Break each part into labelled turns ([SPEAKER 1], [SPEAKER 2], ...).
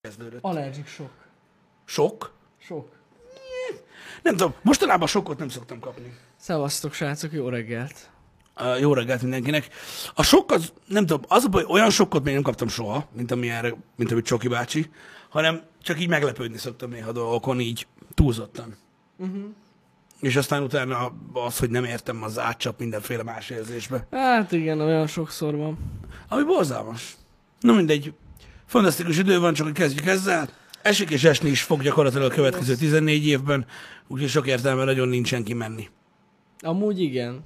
[SPEAKER 1] kezdődött.
[SPEAKER 2] Allergic sok.
[SPEAKER 1] Sok?
[SPEAKER 2] Sok.
[SPEAKER 1] Nem tudom, mostanában sokot nem szoktam kapni.
[SPEAKER 2] Szevasztok, srácok, jó reggelt.
[SPEAKER 1] Ö, Jó reggelt mindenkinek. A sok az, nem tudom, az a baj, olyan sokkot még nem kaptam soha, mint amilyen, mint amit Csoki bácsi, hanem csak így meglepődni szoktam néha dolgokon, így túlzottan. Uh-huh. És aztán utána az, hogy nem értem, az átcsap mindenféle más érzésbe.
[SPEAKER 2] Hát igen, olyan sokszor van.
[SPEAKER 1] Ami borzalmas. Na mindegy. Fantasztikus idő van, csak hogy kezdjük ezzel. Esik és esni is fog gyakorlatilag a következő 14 évben, úgyhogy sok értelme nagyon nincsen kimenni.
[SPEAKER 2] Amúgy igen.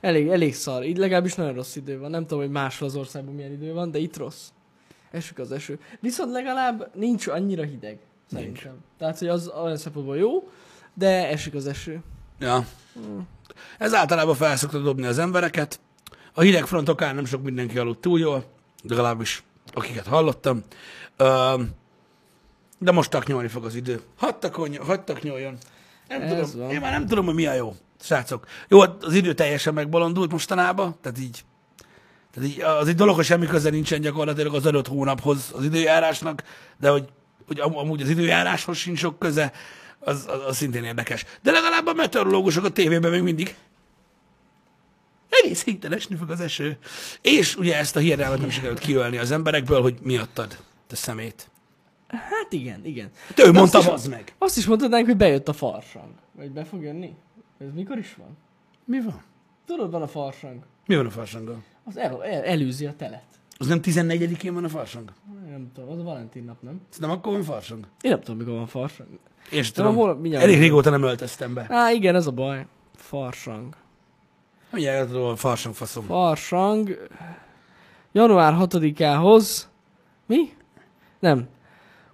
[SPEAKER 2] Elég, elég szar. Így legalábbis nagyon rossz idő van. Nem tudom, hogy máshol az országban milyen idő van, de itt rossz. Esik az eső. Viszont legalább nincs annyira hideg. Szerintem. Nincs. Tehát, hogy az olyan szempontból jó, de esik az eső.
[SPEAKER 1] Ja. Ez általában fel szokta dobni az embereket. A hideg front okán nem sok mindenki aludt túl jól, legalábbis akiket hallottam. Öm, De most taknyolni fog az idő. Hadd takony- hadd taknyoljon. Nem
[SPEAKER 2] Ez
[SPEAKER 1] tudom,
[SPEAKER 2] van.
[SPEAKER 1] én már nem tudom, hogy mi a jó, srácok. Jó, hát az idő teljesen megbolondult mostanában, tehát így, tehát így az egy dolog, hogy semmi köze nincsen gyakorlatilag az adott hónaphoz az időjárásnak, de hogy, hogy am- amúgy az időjáráshoz sincs sok köze, az, az, az szintén érdekes. De legalább a meteorológusok a tévében még mindig egész héten esni fog az eső. És ugye ezt a hiedelmet nem sikerült kiölni az emberekből, hogy miattad, te szemét.
[SPEAKER 2] Hát igen, igen.
[SPEAKER 1] Hát ő
[SPEAKER 2] De
[SPEAKER 1] mondta,
[SPEAKER 2] azt is-
[SPEAKER 1] az meg.
[SPEAKER 2] Azt is mondhatnánk, hogy bejött a farsang. Vagy be fog jönni? Ez mikor is van?
[SPEAKER 1] Mi van?
[SPEAKER 2] Tudod, van a farsang.
[SPEAKER 1] Mi van a farsanggal?
[SPEAKER 2] Az el, el, elűzi a telet.
[SPEAKER 1] Az nem 14-én van a farsang?
[SPEAKER 2] Nem tudom, az a Valentin nap, nem?
[SPEAKER 1] Szerintem akkor van farsang.
[SPEAKER 2] Én nem tudom, mikor van farsang.
[SPEAKER 1] És
[SPEAKER 2] De
[SPEAKER 1] tudom,
[SPEAKER 2] hol-
[SPEAKER 1] hol,
[SPEAKER 2] mindjárt
[SPEAKER 1] elég
[SPEAKER 2] mondom.
[SPEAKER 1] régóta nem öltöztem be.
[SPEAKER 2] Á, igen, ez a baj. Farsang.
[SPEAKER 1] Mindjárt tudom, a farsang faszom.
[SPEAKER 2] Farsang. Január 6-ához. Mi? Nem.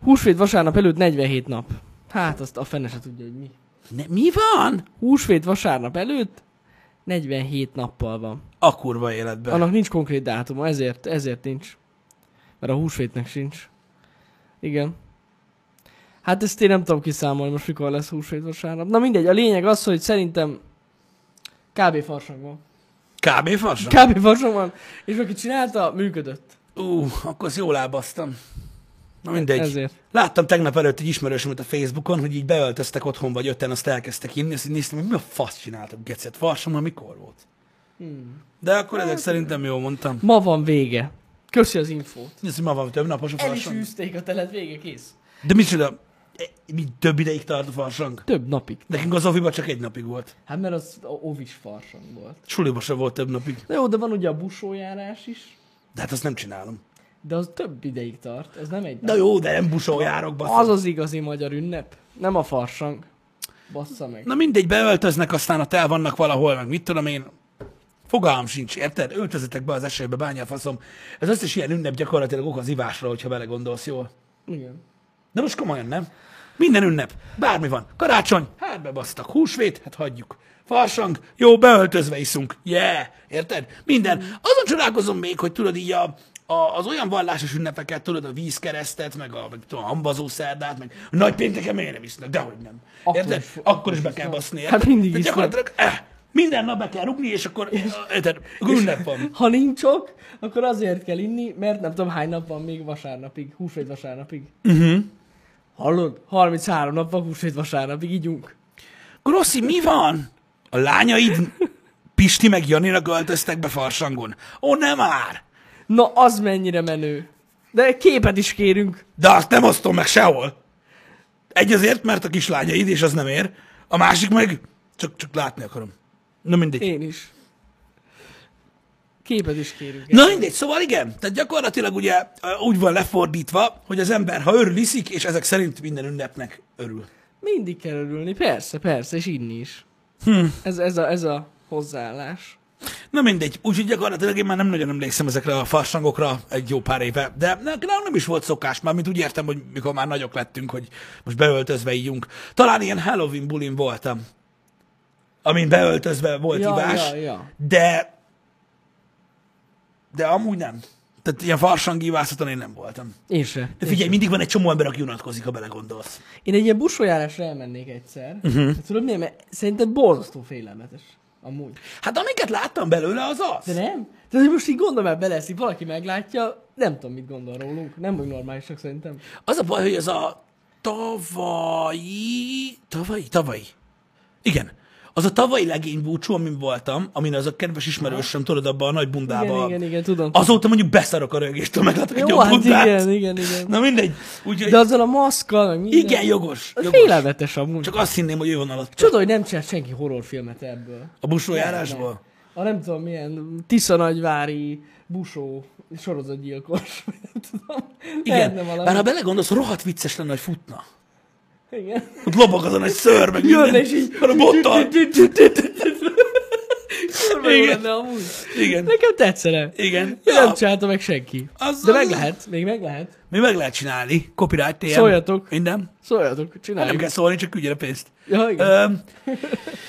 [SPEAKER 2] Húsvét vasárnap előtt 47 nap. Hát azt a fene se tudja, hogy mi.
[SPEAKER 1] Ne, mi van?
[SPEAKER 2] Húsvét vasárnap előtt 47 nappal van.
[SPEAKER 1] A kurva életben.
[SPEAKER 2] Annak nincs konkrét dátuma, ezért, ezért nincs. Mert a húsvétnek sincs. Igen. Hát ezt én nem tudom kiszámolni, most mikor lesz húsvét vasárnap. Na mindegy, a lényeg az, hogy szerintem kb. farsang van.
[SPEAKER 1] Kb. farsang?
[SPEAKER 2] Kb. farsang van, és aki csinálta, működött.
[SPEAKER 1] Ú, akkor azt jól lábaztam. Na mindegy.
[SPEAKER 2] Ezért.
[SPEAKER 1] Láttam tegnap előtt egy ismerősömet a Facebookon, hogy így beöltöztek otthon vagy ötten, azt elkezdtek inni, azt így néztem, hogy mi a fasz csináltak gecet, farsommal mikor volt.
[SPEAKER 2] Hmm.
[SPEAKER 1] De akkor ezek szerintem jól mondtam.
[SPEAKER 2] Ma van vége. Köszi az infót.
[SPEAKER 1] Nézd, hogy ma van több napos a
[SPEAKER 2] El is
[SPEAKER 1] farsang.
[SPEAKER 2] űzték a telet, vége kész.
[SPEAKER 1] De micsoda, E, mi több ideig tart a farsang?
[SPEAKER 2] Több napig.
[SPEAKER 1] Nekünk az oviba csak egy napig volt.
[SPEAKER 2] Hát mert az a ovis farsang volt.
[SPEAKER 1] Suliba sem volt több napig.
[SPEAKER 2] Na jó, de van ugye a busójárás is,
[SPEAKER 1] De hát azt nem csinálom.
[SPEAKER 2] de az több ideig tart, ez nem egy
[SPEAKER 1] Na jó, de nem busol járok, basszus.
[SPEAKER 2] Az az igazi magyar ünnep. Nem a farsang. Bassza meg.
[SPEAKER 1] Na mindegy, beöltöznek, aztán ott el vannak valahol, meg mit tudom én. Fogalmam sincs, érted? Öltözetek be az esőbe, bányáfaszom. Ez összes ilyen ünnep gyakorlatilag ok az ivásra, hogyha belegondolsz jól.
[SPEAKER 2] Igen.
[SPEAKER 1] De most komolyan nem? Minden ünnep, bármi van. Karácsony, hát bebasztak. Húsvét, hát hagyjuk. Farsang, jó, beöltözve iszunk. Yeah, érted? Minden. Azon csodálkozom még, hogy tudod így a, a, az olyan vallásos ünnepeket, tudod, a vízkeresztet, meg a, meg, tudom, a hambazó szerdát, meg a nagy pénteken miért nem isznak, dehogy nem.
[SPEAKER 2] Akkor
[SPEAKER 1] érted?
[SPEAKER 2] is-
[SPEAKER 1] akkor is be kell baszni.
[SPEAKER 2] Hát mindig
[SPEAKER 1] Tehát
[SPEAKER 2] isznak.
[SPEAKER 1] Gyakorlatilag eh, minden nap be kell rugni, és akkor, eh, érted, ünnep van.
[SPEAKER 2] Ha nincs ok, akkor azért kell inni, mert nem tudom hány nap van még vasárnapig, húsvét vasárnapig. Uh-huh. Hallod? 33 nap van húsvét vasárnapig, ígyunk.
[SPEAKER 1] Grossi, mi van? A lányaid Pisti meg Janinak öltöztek be farsangon. Ó, nem már!
[SPEAKER 2] Na, az mennyire menő. De képet is kérünk.
[SPEAKER 1] De azt nem osztom meg sehol. Egy azért, mert a kislányaid, és az nem ér. A másik meg csak, csak látni akarom. Na mindegy.
[SPEAKER 2] Én is. Képet is kérünk.
[SPEAKER 1] Na mindegy, szóval igen. Tehát gyakorlatilag ugye ö, úgy van lefordítva, hogy az ember, ha örül, iszik, és ezek szerint minden ünnepnek örül.
[SPEAKER 2] Mindig kell örülni, persze, persze, és inni is. Hm. Ez, ez, a, ez a hozzáállás.
[SPEAKER 1] Na mindegy, úgyhogy gyakorlatilag én már nem nagyon emlékszem ezekre a farsangokra egy jó pár éve, de nálam nem is volt szokás, már mint úgy értem, hogy mikor már nagyok lettünk, hogy most beöltözve ígyunk. Talán ilyen Halloween bulin voltam, amin beöltözve volt
[SPEAKER 2] Ja,
[SPEAKER 1] hívás,
[SPEAKER 2] ja, ja.
[SPEAKER 1] de de amúgy nem. Tehát ilyen farsangívászaton én nem voltam.
[SPEAKER 2] Én se.
[SPEAKER 1] De figyelj, mindig van egy csomó ember, aki unatkozik, ha belegondolsz.
[SPEAKER 2] Én egy ilyen busójárásra elmennék egyszer.
[SPEAKER 1] Mhm.
[SPEAKER 2] Uh-huh. Tudod miért? Mert szerintem borzasztó félelmetes. Amúgy.
[SPEAKER 1] Hát amiket láttam belőle, az az.
[SPEAKER 2] De nem? Tehát hogy most így gondolom el bele, ezt így valaki meglátja, nem tudom, mit gondol rólunk. Nem vagy normálisak szerintem.
[SPEAKER 1] Az a baj, hogy az a tavalyi... Tavalyi? Tavalyi. Igen. Az a tavalyi legénybúcsú, amin voltam, amin az a kedves ismerősöm, tudod, abban a nagy bundába.
[SPEAKER 2] Igen, igen, igen, tudom.
[SPEAKER 1] Azóta mondjuk beszarok a rögéstől, meglátok egy
[SPEAKER 2] Jó,
[SPEAKER 1] jobb
[SPEAKER 2] hát
[SPEAKER 1] bundát.
[SPEAKER 2] igen, igen, igen.
[SPEAKER 1] Na mindegy. Úgyhogy
[SPEAKER 2] De azzal a maszkkal, meg minden.
[SPEAKER 1] igen, jogos.
[SPEAKER 2] Az
[SPEAKER 1] jogos.
[SPEAKER 2] félelmetes amúgy. Csak...
[SPEAKER 1] Csak azt hinném, hogy ő van alatt.
[SPEAKER 2] Csoda, hogy nem csinál senki horrorfilmet ebből.
[SPEAKER 1] A busójárásból.
[SPEAKER 2] A nem tudom milyen Tisza-Nagyvári busó sorozatgyilkos. Nem tudom.
[SPEAKER 1] Igen,
[SPEAKER 2] Lehetne valami.
[SPEAKER 1] bár ha belegondolsz, rohadt vicces lenne, hogy futna.
[SPEAKER 2] Igen.
[SPEAKER 1] Ott lobog azon egy ször, meg minden.
[SPEAKER 2] Jönne és így.
[SPEAKER 1] A bottal.
[SPEAKER 2] Kurva jó
[SPEAKER 1] Igen.
[SPEAKER 2] lenne amúgy.
[SPEAKER 1] Igen.
[SPEAKER 2] Nekem tetszene.
[SPEAKER 1] Igen.
[SPEAKER 2] Ja. Nem
[SPEAKER 1] Ja,
[SPEAKER 2] csinálta meg senki.
[SPEAKER 1] Az-
[SPEAKER 2] De meg
[SPEAKER 1] az-
[SPEAKER 2] lehet, még meg lehet.
[SPEAKER 1] mi meg lehet csinálni. Copyright TM.
[SPEAKER 2] Szóljatok.
[SPEAKER 1] Minden.
[SPEAKER 2] Szóljatok,
[SPEAKER 1] Nem
[SPEAKER 2] csináljuk.
[SPEAKER 1] kell szólni, csak küldjél a pénzt.
[SPEAKER 2] Ja, igen.
[SPEAKER 1] Öm,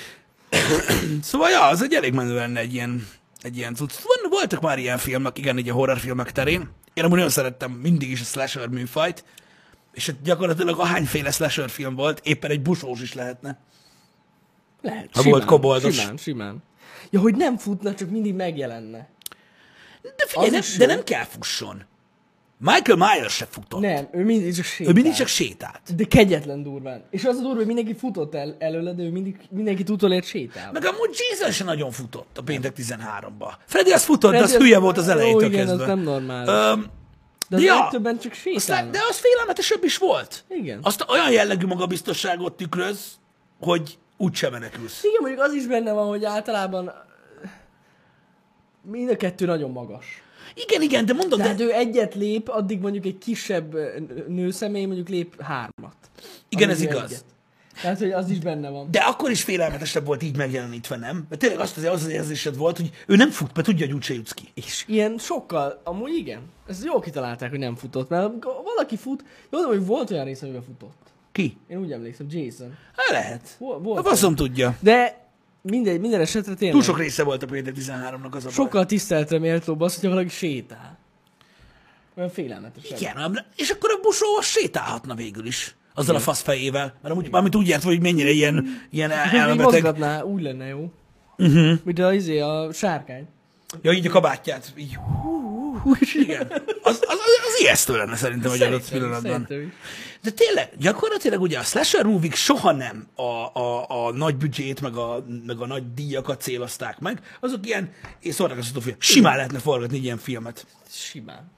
[SPEAKER 1] szóval, ja, az egy elég menő lenne egy ilyen, egy ilyen cucc. Van, voltak már ilyen filmek, igen, így a horrorfilmek terén. Én amúgy nagyon szerettem mindig is a slasher műfajt, és hát gyakorlatilag ahányféle slasher film volt, éppen egy busós is lehetne.
[SPEAKER 2] Lehet,
[SPEAKER 1] Ha volt koboldos.
[SPEAKER 2] Simán, simán. Ja, hogy nem futna, csak mindig megjelenne.
[SPEAKER 1] De figyelj,
[SPEAKER 2] Az
[SPEAKER 1] nem,
[SPEAKER 2] is
[SPEAKER 1] de
[SPEAKER 2] jó.
[SPEAKER 1] nem kell fusson. Michael Myers se futott. Ne,
[SPEAKER 2] Nem, ő mindig csak sétál.
[SPEAKER 1] ő mindig csak sétált.
[SPEAKER 2] De kegyetlen durván. És az a durva, hogy mindenki futott el, előle, de ő mindig, mindenkit utolért sétál.
[SPEAKER 1] Meg amúgy Jesus se nagyon futott a péntek 13-ba. Freddy az futott, de az
[SPEAKER 2] Freddy az-
[SPEAKER 1] hülye volt az
[SPEAKER 2] Ó,
[SPEAKER 1] elejétől
[SPEAKER 2] igen, az
[SPEAKER 1] kezdve.
[SPEAKER 2] nem normális.
[SPEAKER 1] Öm,
[SPEAKER 2] De az
[SPEAKER 1] ja.
[SPEAKER 2] ja. legtöbben csak
[SPEAKER 1] Aztán,
[SPEAKER 2] sétálnak.
[SPEAKER 1] de az félelmetesebb is volt.
[SPEAKER 2] Igen.
[SPEAKER 1] Azt olyan jellegű magabiztosságot tükröz, hogy úgyse menekülsz.
[SPEAKER 2] Igen, mondjuk az is benne van, hogy általában mind a kettő nagyon magas.
[SPEAKER 1] Igen, igen, de mondom, de,
[SPEAKER 2] Tehát ő egyet lép, addig mondjuk egy kisebb ö, nőszemély mondjuk lép hármat.
[SPEAKER 1] Igen,
[SPEAKER 2] Amíg
[SPEAKER 1] ez
[SPEAKER 2] ő
[SPEAKER 1] igaz.
[SPEAKER 2] egyet. Tehát, hogy az is benne van.
[SPEAKER 1] de akkor is félelmetesebb volt így megjelenítve, nem? Mert tényleg azt az, az, az érzésed volt, hogy ő nem fut, mert tudja, hogy úgyse jutsz ki.
[SPEAKER 2] És ilyen sokkal, amúgy igen. Ez jól kitalálták, hogy nem futott, mert amikor valaki fut, jól tudom, hogy volt olyan rész, amiben futott.
[SPEAKER 1] Ki?
[SPEAKER 2] Én úgy emlékszem, Jason.
[SPEAKER 1] Hát lehet.
[SPEAKER 2] Vol-
[SPEAKER 1] A
[SPEAKER 2] Volt.
[SPEAKER 1] faszom tudja.
[SPEAKER 2] De mindegy, minden esetre tényleg.
[SPEAKER 1] Túl sok része volt a péntek 13-nak az a baj.
[SPEAKER 2] Sokkal tiszteletre méltóbb az, hogyha valaki sétál. Olyan félelmetes.
[SPEAKER 1] Igen, ám- és akkor a busó az sétálhatna végül is. Azzal a fasz fejével. Mert amúgy, amit úgy ért, hogy mennyire ilyen, ilyen el-
[SPEAKER 2] Így
[SPEAKER 1] elmebeteg.
[SPEAKER 2] mozgatná, úgy lenne jó.
[SPEAKER 1] Mhm.
[SPEAKER 2] Uh-huh. Mint az izé, a sárkány.
[SPEAKER 1] Ja, így a kabátját. Így. Igen. Az, az, az ijesztő lenne szerintem, hogy adott
[SPEAKER 2] Szerintem-
[SPEAKER 1] pillanatban.
[SPEAKER 2] szerintem is.
[SPEAKER 1] De tényleg, gyakorlatilag ugye a slasher movie soha nem a, a, a nagy büdzsét, meg a, meg a nagy díjakat célozták meg. Azok ilyen, és szórakoztató film. Simán lehetne forgatni egy ilyen filmet.
[SPEAKER 2] Simán.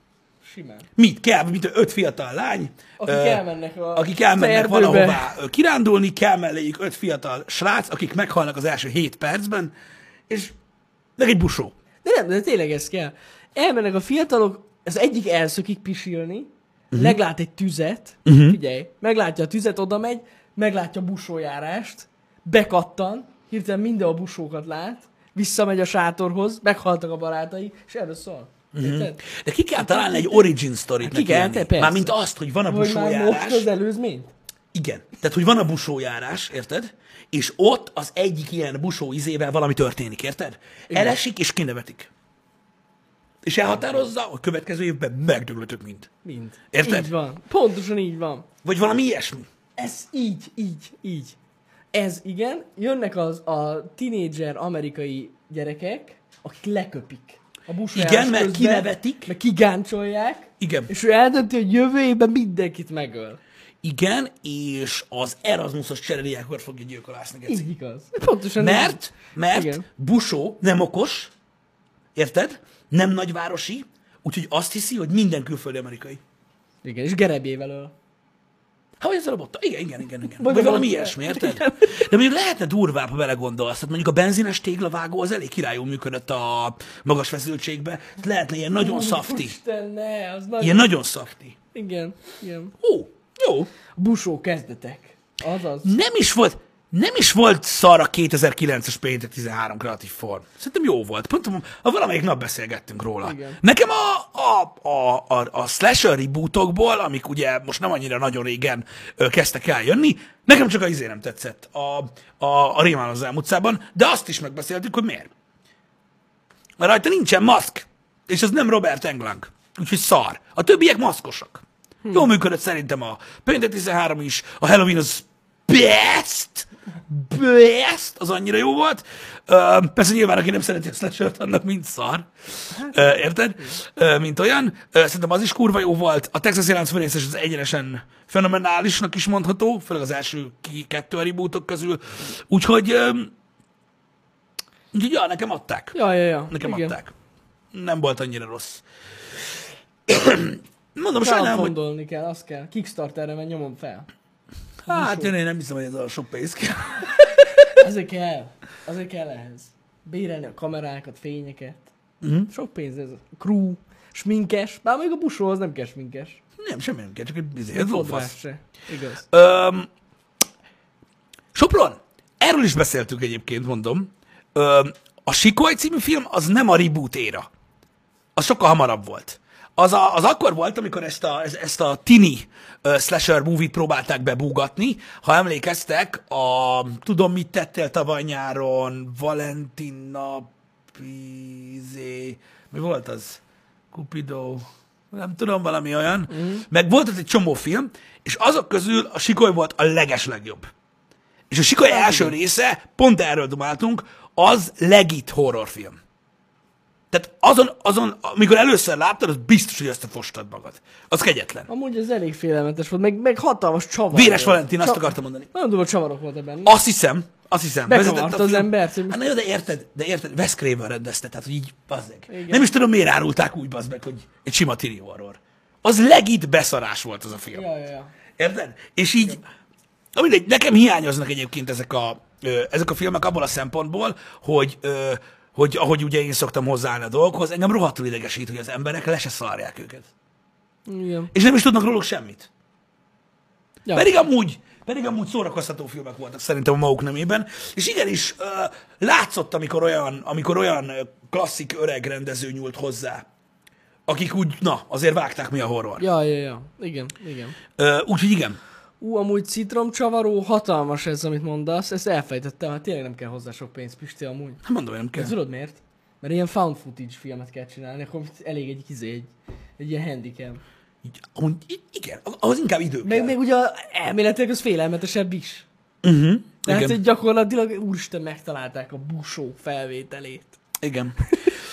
[SPEAKER 2] Simán.
[SPEAKER 1] Mit kell, mint a öt fiatal lány,
[SPEAKER 2] Akik
[SPEAKER 1] ö,
[SPEAKER 2] elmennek a
[SPEAKER 1] akik elmennek
[SPEAKER 2] erdőbe.
[SPEAKER 1] valahová ö, kirándulni, kell melléjük öt fiatal srác, akik meghalnak az első hét percben, és meg egy busó.
[SPEAKER 2] De nem, de tényleg ez kell. Elmennek a fiatalok, az egyik elszökik pisilni,
[SPEAKER 1] Mhm.
[SPEAKER 2] uh-huh. meglát egy tüzet, uh-huh. figyelj, meglátja a tüzet, oda megy, meglátja a busójárást, bekattan, hirtelen minden a busókat lát, visszamegy a sátorhoz, meghaltak a barátai, és erről szól.
[SPEAKER 1] Mhm.
[SPEAKER 2] Uh-huh.
[SPEAKER 1] De ki kell találni egy origin story-t
[SPEAKER 2] ki kell, Hát te persze.
[SPEAKER 1] Mármint azt, hogy van a
[SPEAKER 2] Hogy már most
[SPEAKER 1] busójárás.
[SPEAKER 2] az előzményt?
[SPEAKER 1] Igen. Tehát, hogy van a busójárás, érted? És ott az egyik ilyen busó izével valami történik, érted? Elesik és kinevetik. És elhatározza, hogy következő évben megdöglötök mind.
[SPEAKER 2] Mind.
[SPEAKER 1] Érted?
[SPEAKER 2] Így van. Pontosan így van.
[SPEAKER 1] Vagy valami ilyesmi.
[SPEAKER 2] Ez így, így, így. Ez igen, jönnek az a tinédzser amerikai gyerekek, akik leköpik. A busójárás
[SPEAKER 1] Igen, mert
[SPEAKER 2] közben,
[SPEAKER 1] kinevetik.
[SPEAKER 2] Meg kigáncsolják,
[SPEAKER 1] Igen.
[SPEAKER 2] és ő eldönti, hogy jövő évben mindenkit megöl.
[SPEAKER 1] Igen, és az Erasmusos cserediákot fogja gyilkolásni, geci.
[SPEAKER 2] Így igaz. Pontosan
[SPEAKER 1] Mert, mert
[SPEAKER 2] Igen.
[SPEAKER 1] busó nem okos, érted? Nem nagyvárosi, úgyhogy azt hiszi, hogy minden külföldi amerikai.
[SPEAKER 2] Így. Igen, és gerebjével öl.
[SPEAKER 1] Hát vagy ezzel a botta. Igen, igen, igen, igen. Vagy,
[SPEAKER 2] Vagy
[SPEAKER 1] vagy
[SPEAKER 2] a
[SPEAKER 1] valami
[SPEAKER 2] botta.
[SPEAKER 1] ilyesmi, érted? De mondjuk lehetne durvább, ha belegondolsz. Tehát mondjuk a benzines téglavágó az elég királyú működött a magas feszültségbe. Tehát Lehetne ilyen nagyon szafti.
[SPEAKER 2] Isten, ne, az nagy...
[SPEAKER 1] Ilyen nagyon szafti.
[SPEAKER 2] Igen, igen.
[SPEAKER 1] Ó, jó.
[SPEAKER 2] A busó kezdetek. Azaz.
[SPEAKER 1] Nem is volt, nem is volt szar a 2009-es péntek 13 kreatív form. Szerintem jó volt. Pont a a valamelyik nap beszélgettünk róla.
[SPEAKER 2] Igen.
[SPEAKER 1] Nekem a, a, a, a, a slasher rebootokból, amik ugye most nem annyira nagyon régen ö, kezdtek el jönni, nekem csak a izé nem tetszett a, a, a Rémán az utcában, de azt is megbeszéltük, hogy miért. Mert rajta nincsen maszk, és ez nem Robert Englund, úgyhogy szar. A többiek maszkosak. Jól működött szerintem a Péntek 13 is, a Halloween az best, best, az annyira jó volt. Ö, persze nyilván, aki nem szereti a slasher annak mind szar. Ö, érted? Ö, mint olyan. Ö, szerintem az is kurva jó volt. A Texas Jelenc főrészes az egyenesen fenomenálisnak is mondható, főleg az első ki kettő a rebootok közül. Úgyhogy, ö, úgyhogy ja, nekem adták.
[SPEAKER 2] Ja, ja, ja.
[SPEAKER 1] Nekem
[SPEAKER 2] Igen.
[SPEAKER 1] Igen. adták. Nem volt annyira rossz. Mondom,
[SPEAKER 2] Sajnálom,
[SPEAKER 1] sajnálom, hogy...
[SPEAKER 2] gondolni kell, azt kell. Kickstarterre menj, nyomom fel.
[SPEAKER 1] Hát én, én nem hiszem, hogy ez a sok pénz kell.
[SPEAKER 2] Azért kell. Azért kell ehhez. Bérelni a kamerákat, fényeket.
[SPEAKER 1] Mhm.
[SPEAKER 2] Sok pénz ez. Crew, sminkes. Bár még a busó az nem kell sminkes.
[SPEAKER 1] Nem, semmi nem kell, csak egy bizonyos
[SPEAKER 2] Fodrás
[SPEAKER 1] lófasz.
[SPEAKER 2] se. Igaz.
[SPEAKER 1] Öm, Sopron, erről is beszéltünk egyébként, mondom. Öm, a Sikoly című film az nem a reboot éra. Az sokkal hamarabb volt. Az, a, az akkor volt, amikor ezt a, ez- ezt a tini uh, slasher movie-t próbálták bebúgatni. Ha emlékeztek, a tudom mit tettél tavaly nyáron, Valentin napizé, mi volt az? Cupido, nem tudom, valami olyan. Mm. Meg volt ott egy csomó film, és azok közül a Sikoly volt a legeslegjobb. És a Sikoly első része, pont erről dumáltunk, az legit horrorfilm. Tehát azon, azon, amikor először láttad, az biztos, hogy összefostad magad. Az kegyetlen.
[SPEAKER 2] Amúgy ez elég félelmetes volt, meg, meg hatalmas csavar.
[SPEAKER 1] Véres
[SPEAKER 2] volt.
[SPEAKER 1] Valentin, azt
[SPEAKER 2] Csa-
[SPEAKER 1] akartam mondani.
[SPEAKER 2] Nagyon durva csavarok voltak benne.
[SPEAKER 1] Azt hiszem, azt hiszem.
[SPEAKER 2] Bekavart
[SPEAKER 1] vezetett
[SPEAKER 2] az
[SPEAKER 1] film-
[SPEAKER 2] embert, hogy-
[SPEAKER 1] Hát na jó, de érted, de érted, Wes Craven rendezte, tehát hogy így, bazdeg.
[SPEAKER 2] Igen.
[SPEAKER 1] Nem is tudom, miért árulták úgy, bazd meg, hogy egy sima tini horror. Az legit beszarás volt az a film.
[SPEAKER 2] Ja, ja, ja.
[SPEAKER 1] Érted? És így, na mindegy, nekem hiányoznak egyébként ezek a, ö, ezek a filmek abból a szempontból, hogy, ö, hogy ahogy ugye én szoktam hozzáállni a dolgokhoz, engem rohadtul idegesít, hogy az emberek le se szarják őket.
[SPEAKER 2] Igen.
[SPEAKER 1] És nem is tudnak róluk semmit.
[SPEAKER 2] Ja.
[SPEAKER 1] Pedig amúgy, pedig amúgy szórakoztató filmek voltak szerintem a maguk nemében, és igenis ö, látszott, amikor olyan, amikor olyan ö, klasszik öreg rendező nyúlt hozzá, akik úgy, na, azért vágták mi a horror.
[SPEAKER 2] Ja, ja, ja. Igen, igen.
[SPEAKER 1] Ö, Úgyhogy igen.
[SPEAKER 2] Ú, amúgy citromcsavaró, hatalmas ez, amit mondasz. Ezt elfejtettem, hát tényleg nem kell hozzá sok pénz, Pisti, amúgy.
[SPEAKER 1] Hát mondom, hogy nem kell.
[SPEAKER 2] Ez Tudod miért? Mert ilyen found footage filmet kell csinálni, akkor elég egy izé, egy, egy ilyen handicap.
[SPEAKER 1] Így, amúgy, i- igen, ahhoz inkább idő
[SPEAKER 2] Meg
[SPEAKER 1] kell.
[SPEAKER 2] még ugye elméletileg az félelmetesebb is.
[SPEAKER 1] Uh-huh.
[SPEAKER 2] Tehát,
[SPEAKER 1] igen.
[SPEAKER 2] hogy gyakorlatilag úristen megtalálták a busó felvételét.
[SPEAKER 1] igen.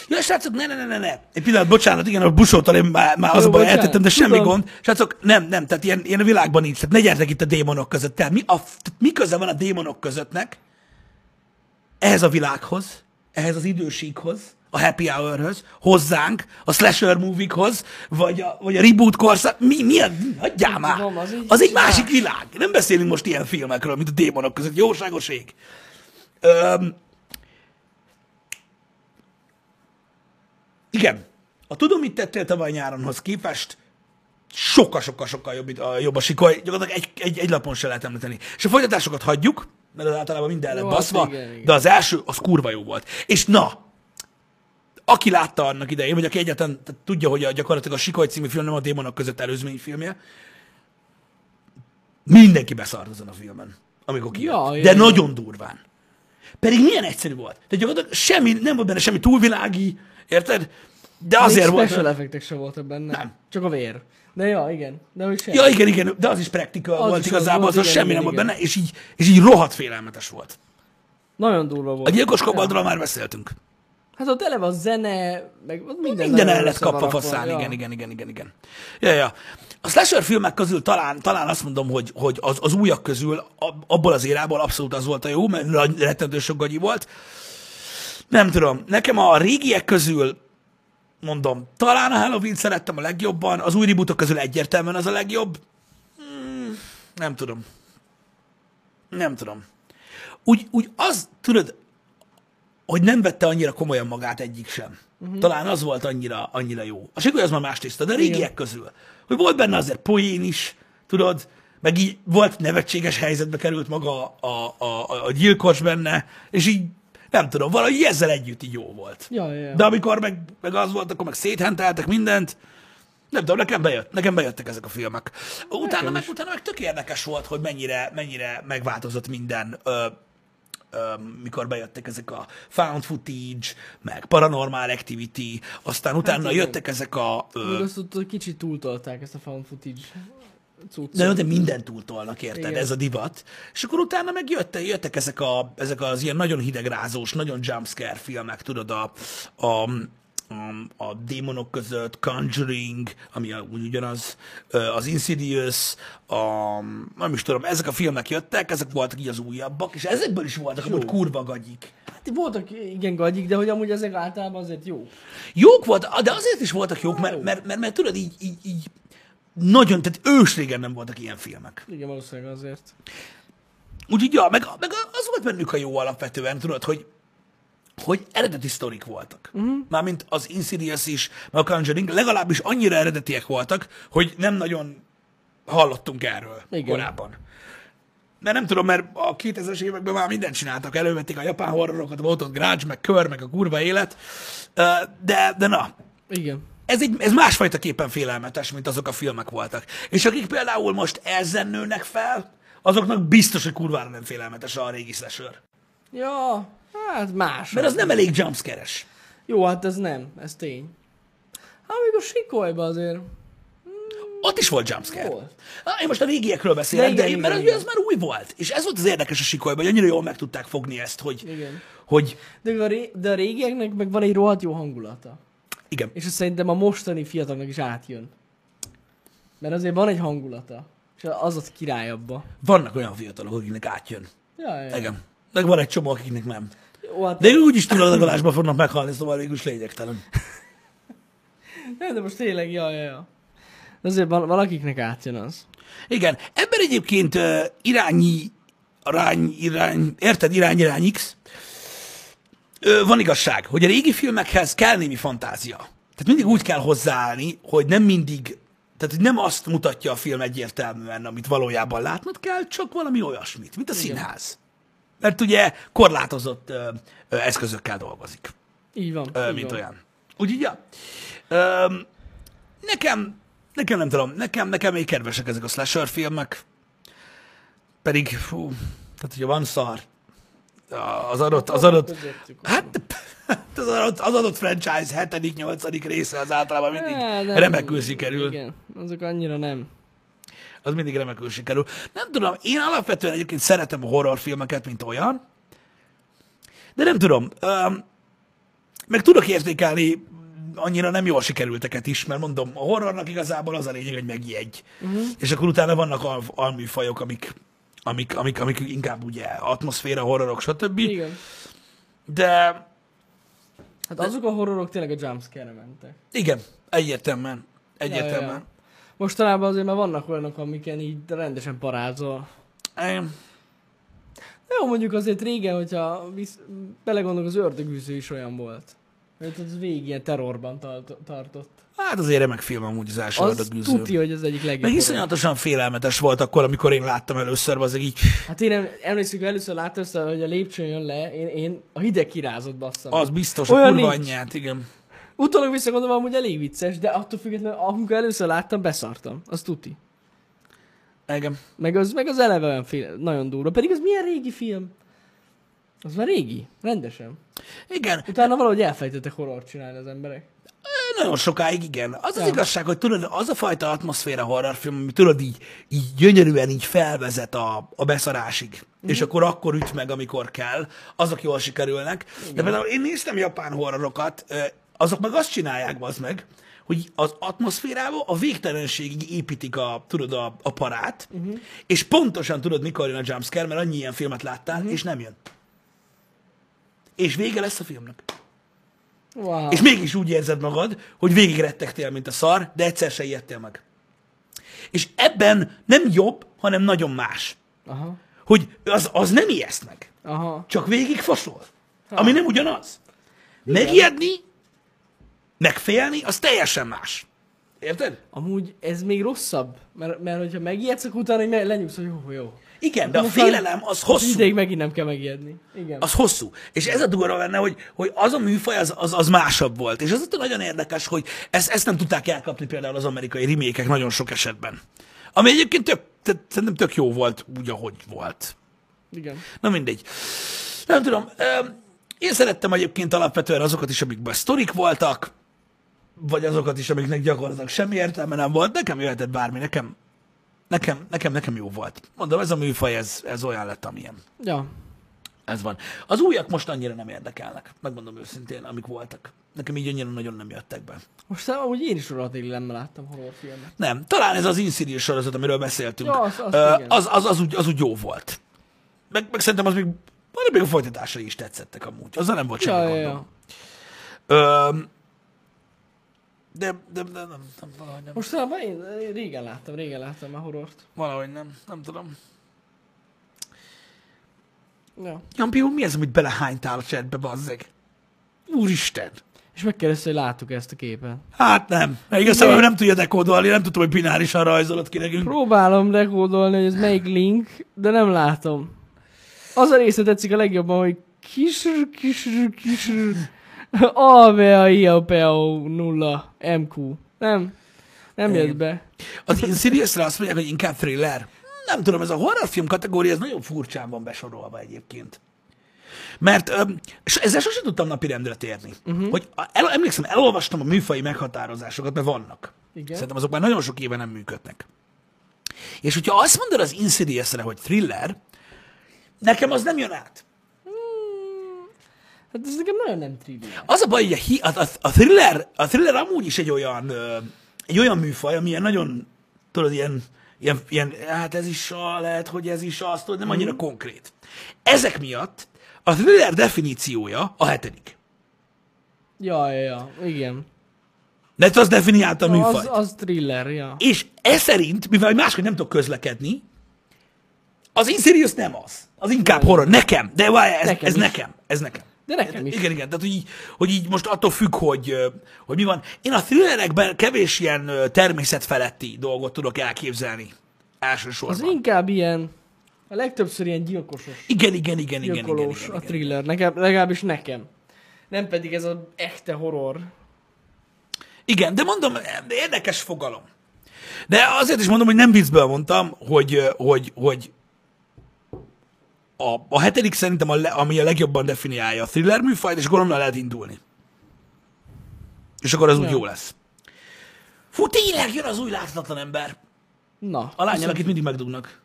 [SPEAKER 1] Jó, srácok, ne, ne, ne, ne, ne. Egy pillanat, bocsánat, igen, a busótól én már, már az
[SPEAKER 2] Jó,
[SPEAKER 1] a baj,
[SPEAKER 2] bocsánat,
[SPEAKER 1] eltettem, de semmi
[SPEAKER 2] tudom.
[SPEAKER 1] gond. Srácok, nem, nem, tehát ilyen, ilyen a világban nincs. Tehát ne gyertek itt a démonok között. Tehát mi, a, f- tehát mi köze van a démonok közöttnek ehhez a világhoz, ehhez az idősíkhoz, a happy hour-höz, hozzánk, a slasher movie-hoz, vagy a, vagy a reboot korszak, mi, mi a, hagyjál már!
[SPEAKER 2] Tudom, az egy-
[SPEAKER 1] Az egy másik világ. Nem beszélünk most ilyen filmekről, mint a démonok között. Jóságos ég. Öm, igen. A Tudom, mit tettél tavaly nyáronhoz képest, sokkal-sokkal-sokkal jobb, itt- a, jobb a sikoly. Gyakorlatilag egy, egy, egy lapon se lehet említeni. És a folytatásokat hagyjuk, mert az általában minden lett
[SPEAKER 2] Jó,
[SPEAKER 1] baszva,
[SPEAKER 2] hát igen, igen.
[SPEAKER 1] de az első, az kurva jó volt. És na, aki látta annak idején, vagy aki egyáltalán tehát tudja, hogy a, gyakorlatilag a Sikoly című film nem a démonok között előzmény filmje, mindenki beszart azon a filmen, amikor kijött.
[SPEAKER 2] Ja,
[SPEAKER 1] De
[SPEAKER 2] ja, ja.
[SPEAKER 1] nagyon durván. Pedig milyen egyszerű volt. Tehát gyakorlatilag semmi, nem volt benne semmi túlvilági, érted? De azért
[SPEAKER 2] Még
[SPEAKER 1] volt.
[SPEAKER 2] special effektek sem voltak benne.
[SPEAKER 1] Nem.
[SPEAKER 2] Csak a vér. De ja, igen. De hogy sem.
[SPEAKER 1] Ja, igen, igen, de az is practical
[SPEAKER 2] Az
[SPEAKER 1] volt
[SPEAKER 2] is az
[SPEAKER 1] igazából,
[SPEAKER 2] volt,
[SPEAKER 1] az, az
[SPEAKER 2] igen,
[SPEAKER 1] semmi
[SPEAKER 2] igen,
[SPEAKER 1] nem volt
[SPEAKER 2] igen.
[SPEAKER 1] benne, és így, és így rohadt félelmetes volt.
[SPEAKER 2] Nagyon durva volt.
[SPEAKER 1] A gyilkos kobaltról már beszéltünk.
[SPEAKER 2] Hát ott eleve a zene, meg ott minden.
[SPEAKER 1] Minden
[SPEAKER 2] nagyon
[SPEAKER 1] el lett
[SPEAKER 2] össze van
[SPEAKER 1] kapva
[SPEAKER 2] rakva,
[SPEAKER 1] faszán,
[SPEAKER 2] ja.
[SPEAKER 1] igen, igen, igen, igen, igen. Ja, ja. A slasher filmek közül talán, talán azt mondom, hogy, hogy az, az újak közül ab- abból az érából abszolút az volt a jó, mert nagy- rettentő sok gagyi volt. Nem tudom, nekem a régiek közül, mondom, talán a halloween szerettem a legjobban, az új rebootok közül egyértelműen az a legjobb. Mm, nem tudom. Nem tudom. Úgy, úgy az, tudod, hogy nem vette annyira komolyan magát egyik sem. Uh-huh. Talán az volt annyira, annyira jó. A Sigoly az már más tiszta, de a régiek
[SPEAKER 2] Igen.
[SPEAKER 1] közül. Hogy volt benne azért poén is, tudod, meg így volt nevetséges helyzetbe került maga a, a, a, a gyilkos benne, és így nem tudom, valahogy ezzel együtt így jó volt.
[SPEAKER 2] Ja, ja, ja.
[SPEAKER 1] De amikor meg, meg az volt, akkor meg széthenteltek mindent, nem tudom, nekem, bejött, nekem bejöttek ezek a filmek. Utána meg, utána meg tök érdekes volt, hogy mennyire, mennyire megváltozott minden, ö, ö, mikor bejöttek ezek a found footage, meg paranormal activity, aztán utána
[SPEAKER 2] igen.
[SPEAKER 1] jöttek ezek a... Ö,
[SPEAKER 2] Még azt ott kicsit túltolták ezt a found footage cuccok.
[SPEAKER 1] De, jó, de mindent túltolnak, érted?
[SPEAKER 2] Igen.
[SPEAKER 1] Ez a divat. És akkor utána meg jöttek, jöttek ezek, a, ezek az ilyen nagyon hidegrázós, nagyon jumpscare filmek, tudod, a, a, a, a démonok között, Conjuring, ami a- úgy ugyanaz, ö, az Insidious, a, nem is tudom, ezek a filmek jöttek, ezek voltak így az újabbak, és ezekből is voltak amúgy kurva gagyik.
[SPEAKER 2] Hát voltak igen gagyik, de hogy amúgy ezek általában azért jó.
[SPEAKER 1] Jók voltak, de azért is voltak jók, mert, mert, mert, mert tudod, így, így, így nagyon, tehát ősrégen nem voltak ilyen filmek.
[SPEAKER 2] Igen, valószínűleg azért.
[SPEAKER 1] Úgyhogy, ja, meg, meg az volt bennük a jó alapvetően, tudod, hogy hogy eredeti sztorik voltak. Uh-huh. Mármint az Insidious is, meg a Conjuring legalábbis annyira eredetiek voltak, hogy nem nagyon hallottunk erről Igen.
[SPEAKER 2] Igen.
[SPEAKER 1] korábban. Mert nem tudom, mert a 2000-es években már mindent csináltak, elővették a japán horrorokat, volt ott Grudge, meg Kör, meg a kurva élet, Ö, de, de na,
[SPEAKER 2] Igen.
[SPEAKER 1] ez, egy, ez másfajta képen félelmetes, mint azok a filmek voltak. És akik például most ezzel nőnek fel, azoknak biztos, hogy kurvára nem félelmetes a régi slasher.
[SPEAKER 2] Ja, hát más.
[SPEAKER 1] Mert az nem elég jumpscare-es.
[SPEAKER 2] Jó, hát ez nem, ez tény. Hát még a sikolyba azért.
[SPEAKER 1] Ott is volt jumpscare.
[SPEAKER 2] Volt.
[SPEAKER 1] Ah, Én most a régiekről beszélek,
[SPEAKER 2] Ja,
[SPEAKER 1] de,
[SPEAKER 2] igen,
[SPEAKER 1] de én, mert
[SPEAKER 2] igen,
[SPEAKER 1] ugye
[SPEAKER 2] igen.
[SPEAKER 1] ez már új volt. És ez volt az érdekes a sikolyban, hogy annyira jól meg tudták fogni ezt, hogy,
[SPEAKER 2] Igen.
[SPEAKER 1] hogy
[SPEAKER 2] De a, ré... de a régieknek meg van egy rohadt jó hangulata.
[SPEAKER 1] igen.
[SPEAKER 2] És ez szerintem a mostani fiatalnak is átjön. Mert azért van egy hangulata. És az az király abba.
[SPEAKER 1] Vannak olyan fiatalok, akiknek átjön.
[SPEAKER 2] Ja, ja.
[SPEAKER 1] Igen. Meg van egy csomó, akiknek nem.
[SPEAKER 2] Jó, hát
[SPEAKER 1] De
[SPEAKER 2] de...
[SPEAKER 1] ők úgyis tulajdonolásban fognak meghalni, szóval végül is lényegtelen.
[SPEAKER 2] Nem, de most tényleg, ja, ja, ja. De azért val- valakiknek átjön az.
[SPEAKER 1] Igen, ebben egyébként uh, irányi, arány, irány, érted, irány, irány X. Ö, van igazság, hogy a régi filmekhez kell némi fantázia. Tehát mindig úgy kell hozzáállni, hogy nem mindig, tehát hogy nem azt mutatja a film egyértelműen, amit valójában látnod kell, csak valami olyasmit, mint a színház. Mert ugye korlátozott ö, ö, eszközökkel dolgozik
[SPEAKER 2] Így van.
[SPEAKER 1] ö,
[SPEAKER 2] így
[SPEAKER 1] mint
[SPEAKER 2] van.
[SPEAKER 1] olyan. Úgyhogy, ja. Ö, nekem, nekem nem tudom, nekem, nekem még kedvesek ezek a slasher filmek, pedig, fú, tehát hogyha van szar, az adott, az adott,
[SPEAKER 2] Közöttük.
[SPEAKER 1] hát az adott, az adott franchise 7.-8. része az általában mindig
[SPEAKER 2] Á, nem,
[SPEAKER 1] remekül sikerül
[SPEAKER 2] Igen, azok annyira nem.
[SPEAKER 1] az mindig remekül sikerül. Nem tudom, én alapvetően egyébként szeretem a horrorfilmeket, mint olyan, de nem tudom, öm, meg tudok értékelni annyira nem jól sikerülteket is, mert mondom, a horrornak igazából az a lényeg, hogy megjegy.
[SPEAKER 2] Mhm.
[SPEAKER 1] Uh-huh. És akkor utána vannak al- alműfajok, amik, amik, amik, amik inkább ugye atmoszféra, horrorok, stb.
[SPEAKER 2] Igen.
[SPEAKER 1] De
[SPEAKER 2] Hát azok a horrorok tényleg a jumpscare mentek.
[SPEAKER 1] igen, egyértelműen. Egyértelműen.
[SPEAKER 2] ja. Mostanában azért már vannak olyanok, amiken így rendesen parázol.
[SPEAKER 1] Em,
[SPEAKER 2] De Jó, mondjuk azért régen, hogyha visz, belegondolok, az ördögűző is olyan volt. Mert az végig ilyen terrorban tart- tartott.
[SPEAKER 1] Hát azért remek film amúgy az első
[SPEAKER 2] Az
[SPEAKER 1] adagűző.
[SPEAKER 2] tuti, hogy az egyik legjobb.
[SPEAKER 1] Meg
[SPEAKER 2] horror.
[SPEAKER 1] iszonyatosan félelmetes volt akkor, amikor én láttam először, az így
[SPEAKER 2] Hát én em- emlékszem, hogy először láttam ezt, hogy a lépcsőn jön le, én, én a hideg kirázott basszam.
[SPEAKER 1] az biztos, a
[SPEAKER 2] Olyan
[SPEAKER 1] kurva
[SPEAKER 2] nincs.
[SPEAKER 1] anyját, igen.
[SPEAKER 2] Utólag visszagondolom, amúgy elég vicces, de attól függetlenül, amikor először láttam, beszartam. Az tuti.
[SPEAKER 1] Igen.
[SPEAKER 2] Meg az, meg az eleve olyan fél, nagyon durva. Pedig az milyen régi film? Az már régi, rendesen.
[SPEAKER 1] Igen,
[SPEAKER 2] Utána valahogy elfejtettek horror csinálni az emberek.
[SPEAKER 1] nagyon sokáig igen. Az az
[SPEAKER 2] Ja.
[SPEAKER 1] igazság, hogy tudod, az a fajta atmoszféra horrorfilm, ami tudod így, így gyönyörűen így felvezet a, a beszarásig, és akkor akkor üt meg, amikor kell, azok jól sikerülnek. De például én néztem japán horrorokat, ö, azok meg azt csinálják, az meg, hogy az atmoszférába a végtelenségig építik a, tudod, a, a parát, uh-huh. és pontosan tudod, mikor jön a jumpscare, mert annyi ilyen filmet láttál, uh-huh. és nem jön. És vége lesz a filmnek.
[SPEAKER 2] Wow.
[SPEAKER 1] És mégis úgy érzed magad, hogy végig rettegtél, mint a szar, de egyszer se ijedtél meg. És ebben nem jobb, hanem nagyon más.
[SPEAKER 2] Aha,
[SPEAKER 1] Hogy az, az nem ijeszt meg,
[SPEAKER 2] aha.
[SPEAKER 1] csak végig fosol. Ami nem ugyanaz. Megijedni, megfélni, az teljesen más. Érted?
[SPEAKER 2] Amúgy ez még rosszabb, mert, mert hogyha megijedsz, akkor utána így me- lenyugsz, hogy jó, jó.
[SPEAKER 1] Igen, de a
[SPEAKER 2] Most már
[SPEAKER 1] félelem az hosszú.
[SPEAKER 2] Ideig megint nem kell megijedni. Igen.
[SPEAKER 1] az hosszú. És ez a durva benne, hogy, hogy az a műfaj az, az, az másabb volt. És az ott nagyon érdekes, hogy ezt, ezt nem tudták elkapni például az amerikai rimékek nagyon sok esetben. Ami egyébként tök, tehát szerintem tök jó volt, úgy, ahogy volt.
[SPEAKER 2] Igen.
[SPEAKER 1] Na mindegy. Nem tudom. öm, Én szerettem egyébként alapvetően azokat is, amikben sztorik voltak, vagy azokat is, amiknek gyakorlatilag semmi értelme nem volt. Nekem jöhetett bármi, nekem Nekem, nekem, nekem jó volt. Mondom, ez a műfaj, ez, ez olyan lett, amilyen.
[SPEAKER 2] Ja.
[SPEAKER 1] Ez van. Az újak most annyira nem érdekelnek, megmondom őszintén, amik voltak. Nekem így annyira nagyon nem jöttek be.
[SPEAKER 2] Most nem, amúgy én is rohadélig nem láttam horrorfilmet.
[SPEAKER 1] Nem, talán ez az Insidious sorozat, amiről beszéltünk,
[SPEAKER 2] Ja, az- az
[SPEAKER 1] ö,
[SPEAKER 2] igen.
[SPEAKER 1] az, az, az, úgy, az úgy jó volt. Meg, meg szerintem az még, annak még a folytatásai is tetszettek amúgy. Azzal nem volt semmi
[SPEAKER 2] Ja,
[SPEAKER 1] ja,
[SPEAKER 2] ja,
[SPEAKER 1] gondom.
[SPEAKER 2] ja.
[SPEAKER 1] Ö, de, de, de nem, nem, valahogy nem.
[SPEAKER 2] Most nem, én, én régen láttam, régen láttam a horrort.
[SPEAKER 1] Valahogy nem, nem tudom.
[SPEAKER 2] Ja.
[SPEAKER 1] Jampi, úr, mi ez, amit belehánytál a csetbe, bazzeg? Úristen!
[SPEAKER 2] És megkérdezte, hogy láttuk ezt a képet.
[SPEAKER 1] Hát nem. Igazából ő nem tudja dekódolni, nem tudom, hogy binárisan rajzolod ki nekünk.
[SPEAKER 2] Próbálom rekódolni, hogy ez melyik link, de nem látom. Az a része tetszik a legjobban, hogy kis kis kis A, B, A, I, A, P, A, O, 0, M, Q. Nem. Nem jött be.
[SPEAKER 1] Az Insidious-re azt mondják, hogy inkább thriller. Nem tudom, ez a horrorfilm kategória, ez nagyon furcsán van besorolva egyébként. Mert öm, s- ezzel sosem tudtam napi rendre térni. Uh-huh. Hogy a- el, emlékszem, elolvastam a műfai meghatározásokat, mert vannak.
[SPEAKER 2] Igen.
[SPEAKER 1] Szerintem azok már nagyon sok éve nem működnek. És hogyha azt mondod az Insidious-re, hogy thriller, nekem az nem jön át.
[SPEAKER 2] Hát ez nekem nagyon nem trivia.
[SPEAKER 1] Az a baj, hogy a, hi- a, a, a, thriller, a thriller amúgy is egy olyan, ö, egy olyan műfaj, ami ilyen nagyon, tudod, ilyen, ilyen, ilyen, hát ez is a, lehet, hogy ez is az, tudod, nem annyira konkrét. Ezek miatt a thriller definíciója a hetedik.
[SPEAKER 2] Ja, ja, ja, igen.
[SPEAKER 1] Mert az definiálta a műfajt.
[SPEAKER 2] Az, az thriller, ja.
[SPEAKER 1] És ez szerint, mivel máshogy nem tudok közlekedni, az Insidious nem az. Az inkább horror. Nekem. De várj, ez nekem.
[SPEAKER 2] Nekem
[SPEAKER 1] Ez
[SPEAKER 2] is.
[SPEAKER 1] nekem. Ez nekem.
[SPEAKER 2] De nekem is.
[SPEAKER 1] Igen, igen. Tehát, hogy így, hogy így most attól függ, hogy, ö, hogy mi van. Én a thrillerekben kevés ilyen ö, természetfeletti dolgot tudok elképzelni.
[SPEAKER 2] Az
[SPEAKER 1] Elsősorban.
[SPEAKER 2] inkább ilyen, a legtöbbször ilyen gyilkosos,
[SPEAKER 1] Igen, igen, igen, igen, igen, igen,
[SPEAKER 2] gyilkolós
[SPEAKER 1] igen.
[SPEAKER 2] a thriller, nekem, legalábbis nekem. Nem pedig ez az echte horror.
[SPEAKER 1] Igen, de mondom, érdekes fogalom. De azért is mondom, hogy nem viccből mondtam, hogy, hogy, hogy a, a hetedik szerintem, a le, ami a legjobban definiálja a thriller műfajt, és gondolom lehet indulni. És akkor az úgy
[SPEAKER 2] Ja.
[SPEAKER 1] jó lesz. Fú, tényleg jön az új láthatatlan ember.
[SPEAKER 2] Na.
[SPEAKER 1] A lányjal, akit mindig megdugnak.